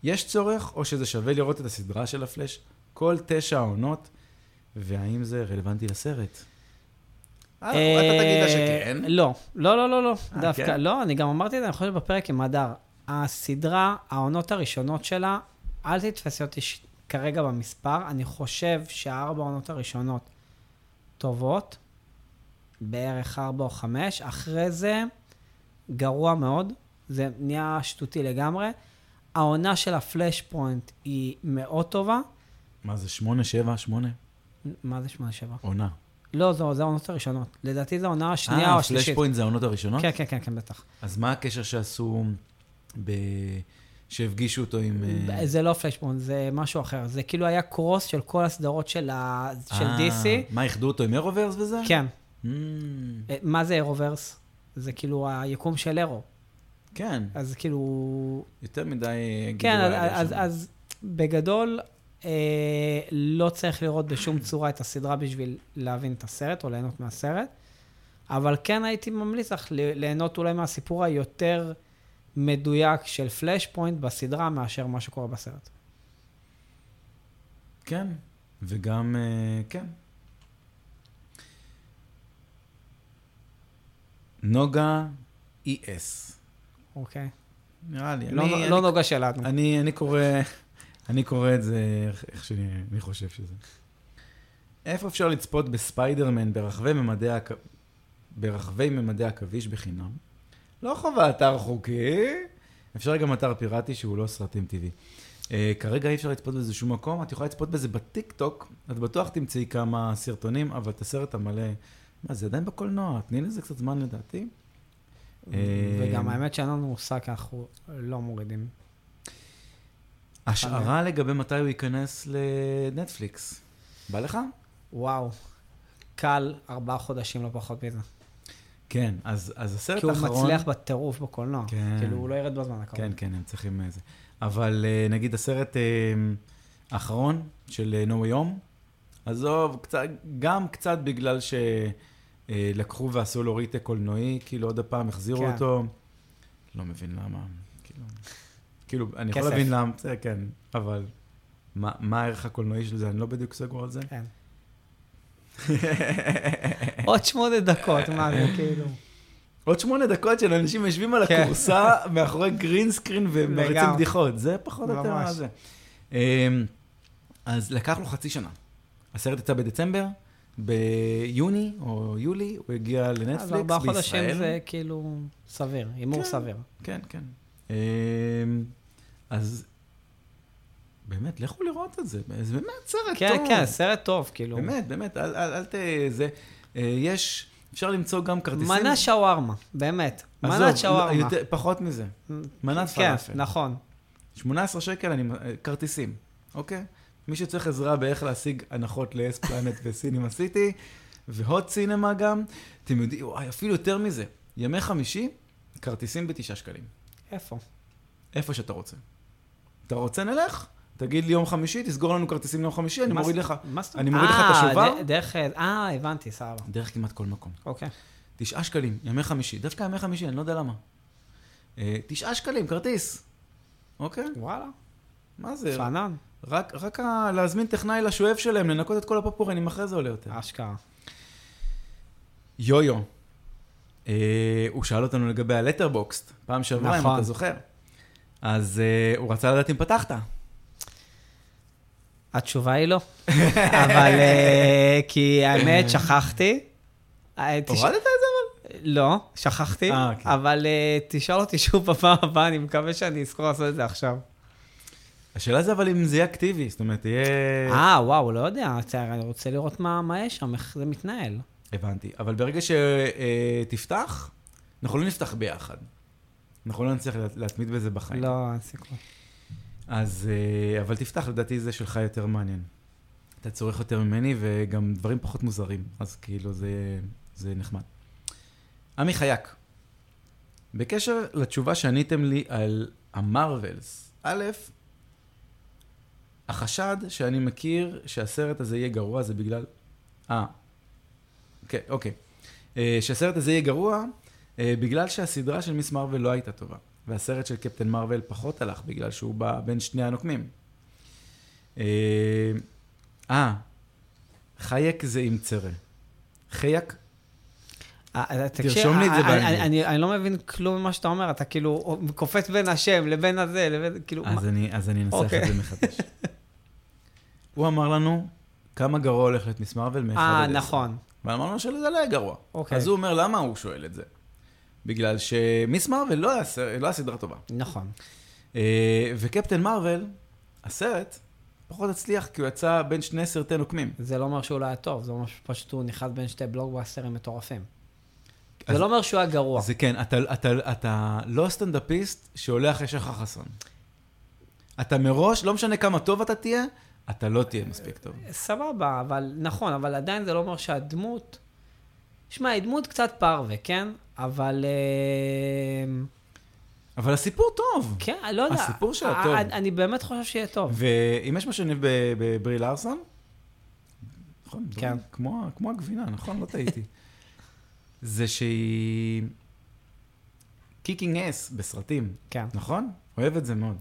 Speaker 1: יש צורך או שזה שווה לראות את הסדרה של הפלאש? כל תשע העונות, והאם זה רלוונטי לסרט? אה, אתה תגיד לה
Speaker 2: אה,
Speaker 1: שכן.
Speaker 2: לא, לא, לא, לא, לא,
Speaker 1: אה,
Speaker 2: דווקא,
Speaker 1: כן?
Speaker 2: לא, אני גם אמרתי את זה, אני חושב בפרק עם הדר. הסדרה, העונות הראשונות שלה, אל תתפסי אותי ש- כרגע במספר, אני חושב שהארבע העונות הראשונות טובות, בערך ארבע או חמש, אחרי זה גרוע מאוד, זה נהיה שטותי לגמרי. העונה של הפלאש פוינט היא מאוד טובה.
Speaker 1: מה זה, שמונה, שבע, שמונה?
Speaker 2: מה זה שמונה שבע?
Speaker 1: עונה.
Speaker 2: לא, זו, זה העונות הראשונות. לדעתי זו העונה השנייה או
Speaker 1: אה, פלאש
Speaker 2: השלישית.
Speaker 1: פוינט זה העונות הראשונות?
Speaker 2: כן, כן, כן, כן, בטח.
Speaker 1: אז מה הקשר שעשו, ב... שהפגישו אותו עם... אה,
Speaker 2: זה לא פלשבון, זה משהו אחר. זה כאילו היה קרוס של כל הסדרות של, ה... של
Speaker 1: אה,
Speaker 2: DC.
Speaker 1: מה, איחדו אותו עם אירוברס וזה?
Speaker 2: כן.
Speaker 1: Mm,
Speaker 2: אה, מה זה אירוברס? זה כאילו היקום של אירו.
Speaker 1: כן,
Speaker 2: אז כאילו...
Speaker 1: יותר מדי... אה,
Speaker 2: כן,
Speaker 1: גידול היה
Speaker 2: אז, אז,
Speaker 1: שם.
Speaker 2: אז בגדול, אה, לא צריך לראות בשום צורה את הסדרה בשביל להבין את הסרט או ליהנות מהסרט, אבל כן הייתי ממליץ לך ל- ליהנות אולי מהסיפור היותר מדויק של פלאש פוינט בסדרה מאשר מה שקורה בסרט.
Speaker 1: כן, וגם... אה, כן. נוגה אי-אס.
Speaker 2: אוקיי.
Speaker 1: נראה לי.
Speaker 2: לא,
Speaker 1: אני-
Speaker 2: לא
Speaker 1: אני-
Speaker 2: נוגה שלנו.
Speaker 1: אני, אני קורא, אני קורא את זה איך- איך שאני אני חושב שזה. איפה אפשר לצפות בספיידרמן ברחבי ממדי, הק... ברחבי ממדי עכביש בחינם? לא חובה אתר חוקי, אפשר גם אתר פיראטי שהוא לא סרטים טבעי. Uh, כרגע אי אפשר לצפות בזה בשום מקום, את יכולה לצפות בזה בטיקטוק, את בטוח תמצאי כמה סרטונים, אבל את הסרט המלא, מה זה עדיין בקולנוע, תני לזה קצת זמן לדעתי.
Speaker 2: וגם
Speaker 1: אה,
Speaker 2: האמת שאין לנו מושג, כי אנחנו לא מורידים.
Speaker 1: השערה לגבי מתי הוא ייכנס לנטפליקס. בא לך?
Speaker 2: וואו, קל ארבעה חודשים, לא פחות מזה.
Speaker 1: כן, אז, אז הסרט
Speaker 2: כי הוא
Speaker 1: האחרון...
Speaker 2: מצליח בטירוף בקולנוע.
Speaker 1: כן.
Speaker 2: כאילו, הוא לא ירד בזמן הקרוב.
Speaker 1: כן, כן, הם צריכים איזה. אבל אה, נגיד הסרט אה, האחרון של אה, נו יום, עזוב, קצת, גם קצת בגלל שלקחו ועשו לו ריטק קולנועי, כאילו עוד הפעם החזירו
Speaker 2: כן.
Speaker 1: אותו. לא מבין למה, כאילו, כאילו, אני יכול
Speaker 2: כסף.
Speaker 1: להבין למה, בסדר, כן, אבל מה, מה הערך הקולנועי של זה? אני לא בדיוק סגור על זה.
Speaker 2: כן.
Speaker 1: אה.
Speaker 2: עוד שמונה דקות, מה זה כאילו?
Speaker 1: עוד שמונה דקות של אנשים יושבים על
Speaker 2: כן.
Speaker 1: הכורסה מאחורי גרינסקרין ומריצים
Speaker 2: לגמרי.
Speaker 1: בדיחות, זה פחות או יותר
Speaker 2: ממש.
Speaker 1: מה זה. אמ, אז לקח לו חצי שנה. הסרט יצא בדצמבר, ביוני או יולי הוא הגיע
Speaker 2: אז
Speaker 1: לנטפליקס
Speaker 2: ארבעה אה, חודשים
Speaker 1: בישראל.
Speaker 2: זה כאילו סביר, הימור
Speaker 1: כן.
Speaker 2: סביר.
Speaker 1: כן, כן. אמ, אז באמת, לכו לראות את זה, זה באמת סרט
Speaker 2: כן,
Speaker 1: טוב.
Speaker 2: כן, סרט טוב, כאילו.
Speaker 1: באמת, באמת, אל- אל אל ת... זה... אה, יש, אפשר למצוא גם כרטיסים.
Speaker 2: מנה שווארמה, באמת.
Speaker 1: עזוב,
Speaker 2: מנת
Speaker 1: לא,
Speaker 2: שווארמה.
Speaker 1: יותר- פחות מזה. מנת פלאפל.
Speaker 2: כן, נכון.
Speaker 1: 18 שקל, אני, אה, כרטיסים, אוקיי? מי שצריך עזרה באיך להשיג הנחות ל-S פלנט וסינימה סיטי, והוט סינמה גם, אתם יודעים, וואי, אפילו יותר מזה, ימי חמישי, כרטיסים בתשעה שקלים,
Speaker 2: איפה?
Speaker 1: איפה שאתה רוצה. אתה רוצה נלך? תגיד לי יום חמישי, תסגור לנו כרטיסים ליום חמישי, אני
Speaker 2: מה
Speaker 1: מוריד
Speaker 2: זאת-
Speaker 1: לך.
Speaker 2: מה זאת
Speaker 1: אני
Speaker 2: אומרת?
Speaker 1: מוריד לך את
Speaker 2: אה,
Speaker 1: השובר?
Speaker 2: ד- דרך... אה, הבנתי, סבבה.
Speaker 1: דרך כמעט כל מקום.
Speaker 2: אוקיי.
Speaker 1: תשעה שקלים, ימי חמישי. דווקא ימי חמישי, אני לא יודע למה. אה, תשעה שקלים, כרטיס. אוקיי?
Speaker 2: וואלה,
Speaker 1: מה זה?
Speaker 2: פאנן,
Speaker 1: רק, רק ה- להזמין טכנאי לשואב שלהם, לנקות את כל הפופורנים, אחרי זה עולה יותר.
Speaker 2: אשכרה.
Speaker 1: יו-יו. אה, הוא שאל אותנו לגבי הלטרבוקסט, פעם שעברה, אם
Speaker 2: נכון.
Speaker 1: אתה זוכר. אז אה, הוא רצה לדעת אם פתחת.
Speaker 2: התשובה היא לא. אבל אה, כי האמת, שכחתי. אה, תש-
Speaker 1: הורדת את זה
Speaker 2: לא, שכחתי,
Speaker 1: אה, כן.
Speaker 2: אבל אה, תשאל אותי שוב בפעם הבאה, אני מקווה שאני אזכור לעשות את זה עכשיו.
Speaker 1: אבל? השאלה זה אבל אם זה יהיה אקטיבי, זאת אומרת, יהיה...
Speaker 2: אה, וואו, לא יודע, צער, אני רוצה לראות מה מה יש שם, איך זה מתנהל.
Speaker 1: הבנתי. אבל ברגע שתפתח, אנחנו לא נפתח ביחד. אנחנו לא נצליח לה- להתמיד בזה בחיים.
Speaker 2: לא, אין סיכוי.
Speaker 1: אז, אה, אבל תפתח, לדעתי זה שלך יותר מעניין. אתה צורך יותר ממני וגם דברים פחות מוזרים, אז כאילו זה, זה נחמד. עמי חייק, בקשר לתשובה שעניתם לי על המרווילס, א', החשד שאני מכיר שהסרט הזה יהיה גרוע זה בגלל... אה, כן, אוקיי. אה, שהסרט הזה יהיה גרוע אה, בגלל שהסדרה של מיס מרוויל לא הייתה טובה. והסרט של קפטן מרוויל פחות הלך, בגלל שהוא בא בין שני הנוקמים. אה, אה, חייק זה עם צרה. חייק?
Speaker 2: אה, אה, תקשיב,
Speaker 1: תרשום לי את זה
Speaker 2: אה, אה,
Speaker 1: באנגלית.
Speaker 2: אני- אני- אני לא מבין כלום ממה שאתה אומר, אתה כאילו קופץ בין השם לבין הזה, לבין, כאילו... מה-
Speaker 1: אז אני, אז אני אנסח
Speaker 2: אוקיי.
Speaker 1: את זה מחדש. הוא אמר לנו כמה גרוע הולך להיות מיס מרוויל מאחד עד
Speaker 2: אה,
Speaker 1: עשר.
Speaker 2: נכון.
Speaker 1: ואמרנו שזה לא היה גרוע.
Speaker 2: אוקיי.
Speaker 1: אז הוא אומר, למה הוא שואל את זה? בגלל שמיס מרוויל לא היה סר- לא היה סדרה טובה.
Speaker 2: נכון.
Speaker 1: אה, וקפטן מרוויל, הסרט, פחות הצליח כי הוא יצא בין שני סרטי נוקמים.
Speaker 2: זה לא אומר שהוא לא היה טוב, זה אומר שפשוט הוא נחת בין שתי בלוגבאסטרים מטורפים.
Speaker 1: אז-
Speaker 2: זה לא אומר שהוא היה גרוע.
Speaker 1: זה כן, אתה, אתה, אתה לא סטנדאפיסט שעולה אחרי שחר חסון. אתה מראש, לא משנה כמה טוב אתה תהיה, אתה לא תהיה מספיק טוב.
Speaker 2: סבבה, אבל נכון, אבל עדיין זה לא אומר שהדמות... שמע, היא דמות קצת פרווה, כן? אבל... אה,
Speaker 1: אבל הסיפור טוב.
Speaker 2: כן, לא יודע.
Speaker 1: הסיפור שלה
Speaker 2: א-
Speaker 1: טוב.
Speaker 2: א- אני באמת חושב שיהיה טוב.
Speaker 1: ואם יש משהו שאני אוהב ב- בברי לארסון, נכון,
Speaker 2: כן.
Speaker 1: דברים, כמו, כמו הגבינה, נכון? לא טעיתי. זה שהיא קיקינג אס בסרטים,
Speaker 2: כן.
Speaker 1: נכון? אוהב את זה מאוד.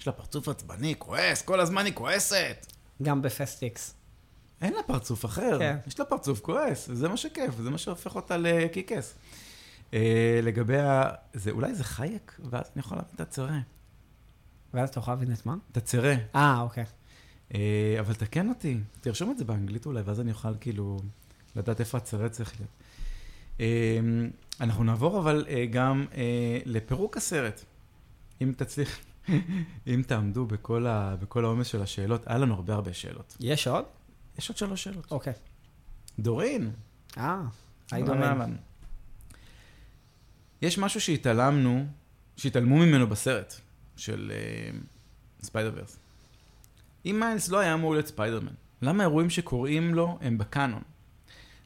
Speaker 1: יש לה פרצוף עצבני, כועס, כל הזמן היא כועסת.
Speaker 2: גם בפסטיקס.
Speaker 1: אין לה פרצוף אחר,
Speaker 2: כן.
Speaker 1: יש לה פרצוף כועס, וזה מה שכיף, זה מה שהופך אותה לקיקס. אה, לגבי ה... זה, אולי זה חייק, ואז אני יכול להבין את הצרה.
Speaker 2: ואז אתה יכול להבין את מה?
Speaker 1: את הצרה.
Speaker 2: אה, אוקיי.
Speaker 1: אה, אבל תקן אותי, תרשום את זה באנגלית אולי, ואז אני אוכל כאילו לדעת איפה הצרה צריך להיות. אה, אנחנו נעבור אבל אה, גם אה, לפירוק הסרט. אם תצליח, אם תעמדו בכל ה- בכל העומס של השאלות, היה לנו הרבה הרבה שאלות.
Speaker 2: יש עוד?
Speaker 1: יש עוד שלוש שאלות.
Speaker 2: אוקיי.
Speaker 1: דורין,
Speaker 2: אה, היי
Speaker 1: אהלן,
Speaker 2: דורין.
Speaker 1: אהלן. יש משהו שהתעלמנו, שהתעלמו ממנו בסרט של ספיידר ורס. אם מיילס לא היה אמור להיות ספיידרמן, למה אירועים שקורים לו הם בקאנון?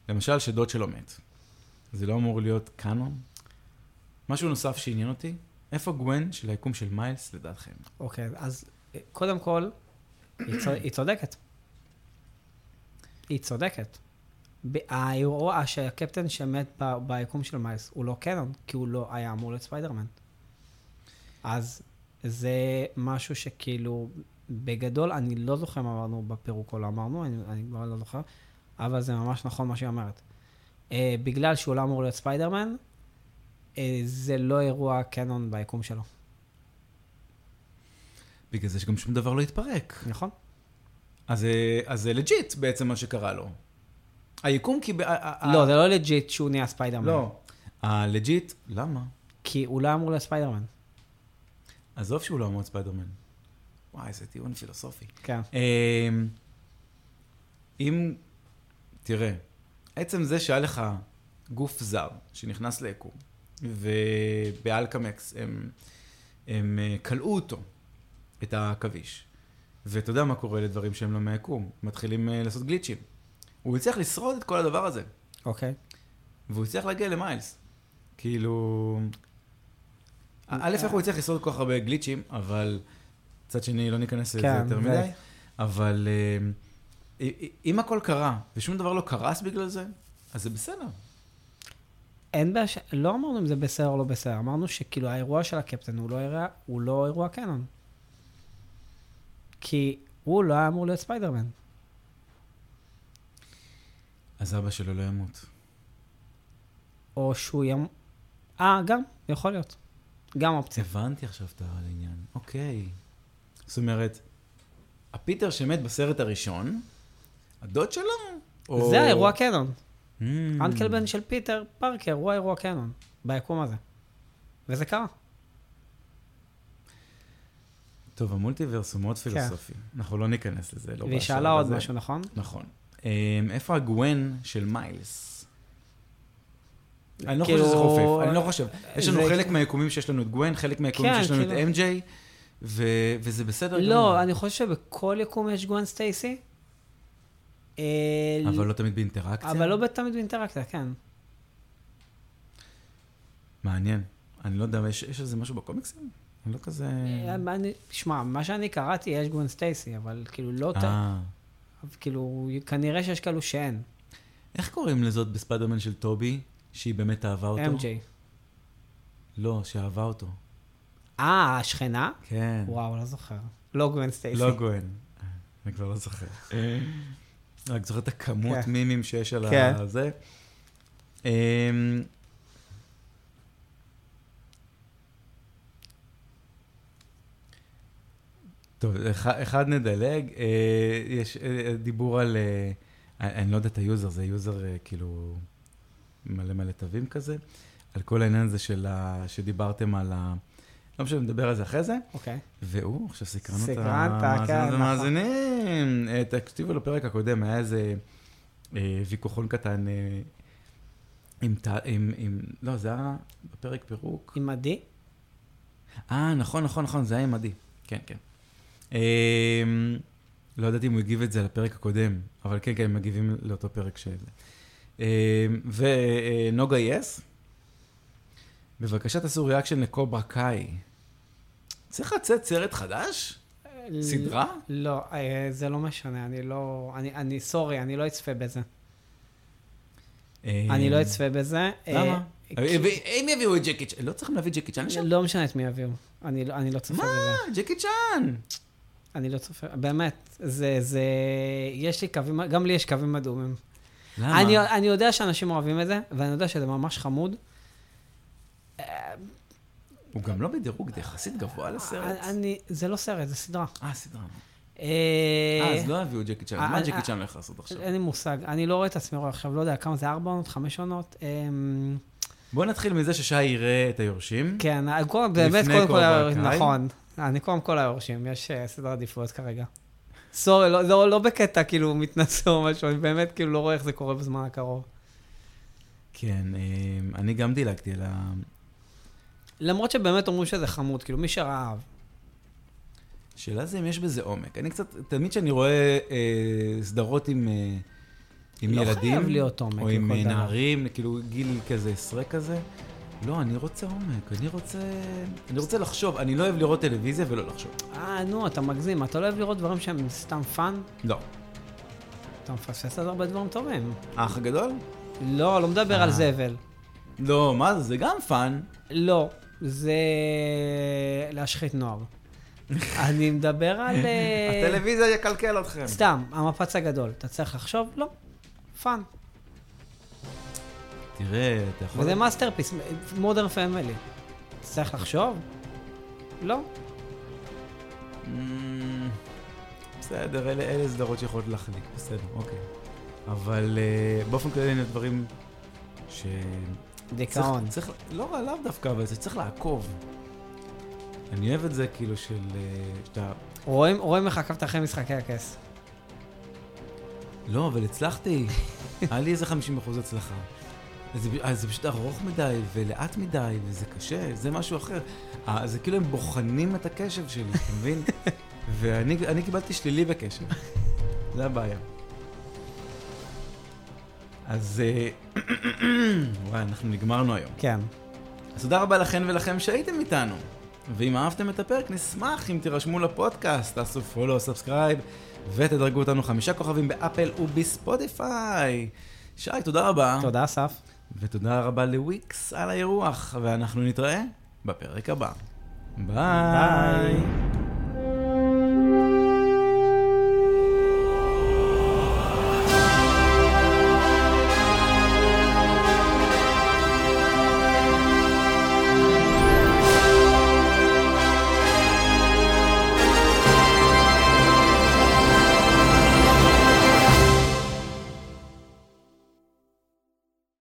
Speaker 1: למשל, שדוד שלו מת. זה לא אמור להיות קאנון? משהו נוסף שעניין אותי, איפה גוון של היקום של מיילס לדעתכם?
Speaker 2: אוקיי, אז אה, קודם כל, היא צו- היא צודקת. היא צודקת. ב- האירוע שהקפטן שמת ב- ביקום של מייס הוא לא קנון, כי הוא לא היה אמור להיות ספיידרמן. אז זה משהו שכאילו, בגדול, אני לא זוכר אם אמרנו בפירוק או לא אמרנו, אני, אני כבר לא זוכר, אבל זה ממש נכון מה שהיא אומרת. אה, בגלל שהוא לא אמור להיות ספיידרמן, אה, זה לא אירוע קנון ביקום שלו,
Speaker 1: בגלל זה שגם שום דבר לא התפרק.
Speaker 2: נכון?
Speaker 1: אז אה, אז זה לג'יט בעצם מה שקרה לו. היקום קיבל...
Speaker 2: לא, זה לא לג'יט שהוא נהיה ספיידרמן.
Speaker 1: לא. הלג'יט, למה?
Speaker 2: כי הוא לא אמור להיות ספיידרמן.
Speaker 1: עזוב שהוא לא אמור להיות ספיידרמן. וואי, איזה טיעון פילוסופי.
Speaker 2: כן.
Speaker 1: אמ, אם, תראה, עצם זה שהיה לך גוף זר שנכנס ליקום, ובאלקמקס הם, הם אה, כלאו אותו, את העכביש, ואתה יודע מה קורה לדברים שהם לא מהיקום, מתחילים אה, לעשות גליצ'ים. הוא הצליח לשרוד את כל הדבר הזה,
Speaker 2: אוקיי.
Speaker 1: והוא הצליח להגיע למיילס. כאילו... א', איך הוא הצליח לשרוד כל כך הרבה גליצ'ים, אבל מצד שני, לא ניכנס לזה
Speaker 2: כן,
Speaker 1: יותר
Speaker 2: ו-
Speaker 1: מדי. אבל אה, אה, אם הכל קרה, ושום דבר לא קרס בגלל זה, אז זה בסדר.
Speaker 2: אין בעיה, ש- לא אמרנו אם זה בסדר או לא בסדר, אמרנו שכאילו האירוע של הקפטן הוא לא אירוע, הוא לא אירוע קנון. כי הוא לא היה אמור להיות ספיידרמן.
Speaker 1: אז אבא שלו לא ימות.
Speaker 2: או שהוא ימ... אה, גם, יכול להיות. גם אופציה.
Speaker 1: הבנתי עכשיו את העניין. אוקיי. זאת אומרת, הפיטר שמת בסרט הראשון, הדוד שלו, או...
Speaker 2: זה האירוע קנון.
Speaker 1: Mm.
Speaker 2: אנקל בן של פיטר פארקר הוא האירוע קנון, ביקום הזה. וזה קרה.
Speaker 1: טוב, המולטיברס הוא מאוד פילוסופי. אנחנו לא ניכנס לזה, לא
Speaker 2: כן. והיא
Speaker 1: בשלב
Speaker 2: שאלה עוד
Speaker 1: הזה.
Speaker 2: משהו, נכון?
Speaker 1: נכון. אמ, איפה הגוון של מיילס? אני לא חושב
Speaker 2: כאילו-
Speaker 1: שזה חופף, אני לא חושב. יש לנו
Speaker 2: זה-
Speaker 1: חלק מהיקומים שיש לנו את גוון, חלק מהיקומים
Speaker 2: כן,
Speaker 1: שיש לנו
Speaker 2: כאילו-
Speaker 1: את MJ, ו- וזה בסדר גמור.
Speaker 2: לא, אני חושב שבכל יקום יש גוון סטייסי. אה,
Speaker 1: אבל לא תמיד באינטראקציה.
Speaker 2: אבל לא תמיד באינטראקציה, כן.
Speaker 1: מעניין. אני לא יודע, יש יש איזה משהו בקומיקסים? אני לא כזה...
Speaker 2: אה, אני- שמע, מה שאני קראתי, יש גוון סטייסי, אבל כאילו לא... ת-
Speaker 1: אה.
Speaker 2: אבל כאילו, כנראה שיש כאלו שאין.
Speaker 1: איך קוראים לזאת בספיידרמן של טובי, שהיא באמת אהבה אותו?
Speaker 2: MJ.
Speaker 1: לא, שאהבה אותו.
Speaker 2: אה, השכנה?
Speaker 1: כן.
Speaker 2: וואו, לא זוכר. לא גוון סטייסי.
Speaker 1: לא גוהן. אני כבר לא זוכר. רק זוכר אה, את הכמות
Speaker 2: כן.
Speaker 1: מימים שיש על
Speaker 2: כן.
Speaker 1: הזה. אמ, טוב, אח- אחד נדלג, אה, יש אה, דיבור על, אה, אני אני לא יודע את היוזר, זה יוזר אה, כאילו מלא מלא תווים כזה, על כל העניין הזה של ה... שדיברתם על ה... לא משנה, נדבר על זה אחרי זה.
Speaker 2: אוקיי.
Speaker 1: והוא, עכשיו סקרנו את
Speaker 2: סקרנת, כן,
Speaker 1: המאזינות
Speaker 2: נכון.
Speaker 1: והמאזינים. אה, תקשיבו לפרק הקודם, היה איזה אה, ויכוחון קטן אה, עם, ת- עם, עם, לא, זה היה בפרק פירוק.
Speaker 2: עם עדי?
Speaker 1: אה, נכון, נכון, נכון, זה היה עם עדי. כן, כן. אה, לא ידעתי אם הוא הגיב את זה לפרק הקודם, אבל כן, כן, הם מגיבים לאותו פרק של... אה, ונוגה יס, בבקשה תעשו ריאקשן לקוברה קאי. צריך לצאת סרט חדש? סדרה?
Speaker 2: לא, אה, זה לא משנה, אני לא... אני- אני, סורי, אני לא אצפה בזה.
Speaker 1: אה.
Speaker 2: אני לא אצפה בזה. אה,
Speaker 1: למה?
Speaker 2: כי-
Speaker 1: אם יביאו את ג'קי צ'אן, לא צריכים להביא ג'קי צ'אן לשם?
Speaker 2: לא משנה את מי יביאו. אני לא- אני לא צופה
Speaker 1: מה?
Speaker 2: בזה.
Speaker 1: ג'קי צ'אן!
Speaker 2: אני לא צופה, באמת, זה, זה, יש לי קווים, גם לי יש קווים אדומים.
Speaker 1: למה?
Speaker 2: אני, אני יודע שאנשים אוהבים את זה, ואני יודע שזה ממש חמוד.
Speaker 1: הוא גם לא בדירוג יחסית גבוה לסרט.
Speaker 2: אה, אני, זה לא סרט, זה סדרה.
Speaker 1: אה, סדרה.
Speaker 2: אה,
Speaker 1: אה, אז לא יביאו את ג'קי צ'אן.
Speaker 2: אה,
Speaker 1: מה
Speaker 2: אה,
Speaker 1: ג'קי צ'אן הולך לעשות עכשיו?
Speaker 2: אין לי מושג, אני לא רואה את עצמי רואה עכשיו, לא יודע כמה זה, ארבע עונות, חמש עונות. אמ,
Speaker 1: בואו נתחיל מזה ששי יראה את היורשים.
Speaker 2: כן, אני קודם- באמת,
Speaker 1: לפני
Speaker 2: קודם
Speaker 1: כל
Speaker 2: כל, היורש-
Speaker 1: ברקאי.
Speaker 2: נכון, אני קודם כל היורשים, יש אה, סדר עדיפויות כרגע. סורי, לא- לא לא בקטע כאילו מתנשא או משהו, אני באמת כאילו לא רואה איך זה קורה בזמן הקרוב.
Speaker 1: כן, אה, אני גם דילגתי על ה...
Speaker 2: למרות שבאמת אומרים שזה חמוד, כאילו מי שראה אהב.
Speaker 1: שאלה זה אם יש בזה עומק. אני קצת, תמיד כשאני רואה אה, סדרות עם, אה, עם
Speaker 2: לא
Speaker 1: ילדים,
Speaker 2: חייב להיות עומק
Speaker 1: או עם
Speaker 2: לכל
Speaker 1: אה,
Speaker 2: דבר.
Speaker 1: נערים, כאילו גיל כזה, עשרה כזה, לא, אני רוצה עומק, אני רוצה, אני רוצה לחשוב. אני לא אוהב לראות טלוויזיה ולא לחשוב.
Speaker 2: אה, נו, אתה מגזים, אתה לא אוהב לראות דברים שהם סתם פאן?
Speaker 1: לא.
Speaker 2: אתה מפספס על הרבה דברים טובים.
Speaker 1: האח הגדול?
Speaker 2: לא, לא מדבר
Speaker 1: אה.
Speaker 2: על זבל.
Speaker 1: לא, מה זה? זה גם פאן.
Speaker 2: לא, זה להשחית נוער. אני מדבר על... אה,
Speaker 1: הטלוויזיה יקלקל אתכם.
Speaker 2: סתם, המפץ הגדול. אתה צריך לחשוב? לא. פאן.
Speaker 1: תראה, אתה יכול...
Speaker 2: וזה מאסטרפיס, מודרן פמילי. צריך לחשוב? לא.
Speaker 1: אמ, בסדר, אלה, אלה סדרות שיכולות להחליק, בסדר, אוקיי. אבל אה, באופן כללי אלה דברים ש...
Speaker 2: דיכאון.
Speaker 1: צריך, צריך, לא, לאו דווקא, אבל זה צריך לעקוב. אני אוהב את זה, כאילו, של... אה, שאתה...
Speaker 2: רואים רואים איך עקבת אחרי משחקי הכס.
Speaker 1: לא, אבל הצלחתי. היה לי איזה 50% הצלחה. אז זה, אז זה פשוט ארוך מדי ולאט מדי, וזה קשה, זה משהו אחר. אה, זה כאילו הם בוחנים את הקשב שלי, אתה מבין? ואני אני קיבלתי שלילי בקשב. זה הבעיה. אז... אה, וואי, אנחנו נגמרנו היום. אה.
Speaker 2: כן.
Speaker 1: אז תודה רבה לכן ולכם שהייתם איתנו. ואם אהבתם את הפרק, נשמח אם תירשמו לפודקאסט, תעשו follow, סאבסקרייב, ותדרגו אותנו חמישה כוכבים באפל ובספוטיפיי. שי, תודה רבה.
Speaker 2: תודה, אסף.
Speaker 1: ותודה רבה לוויקס על האירוח, ואנחנו נתראה בפרק הבא. ביי.
Speaker 2: ביי.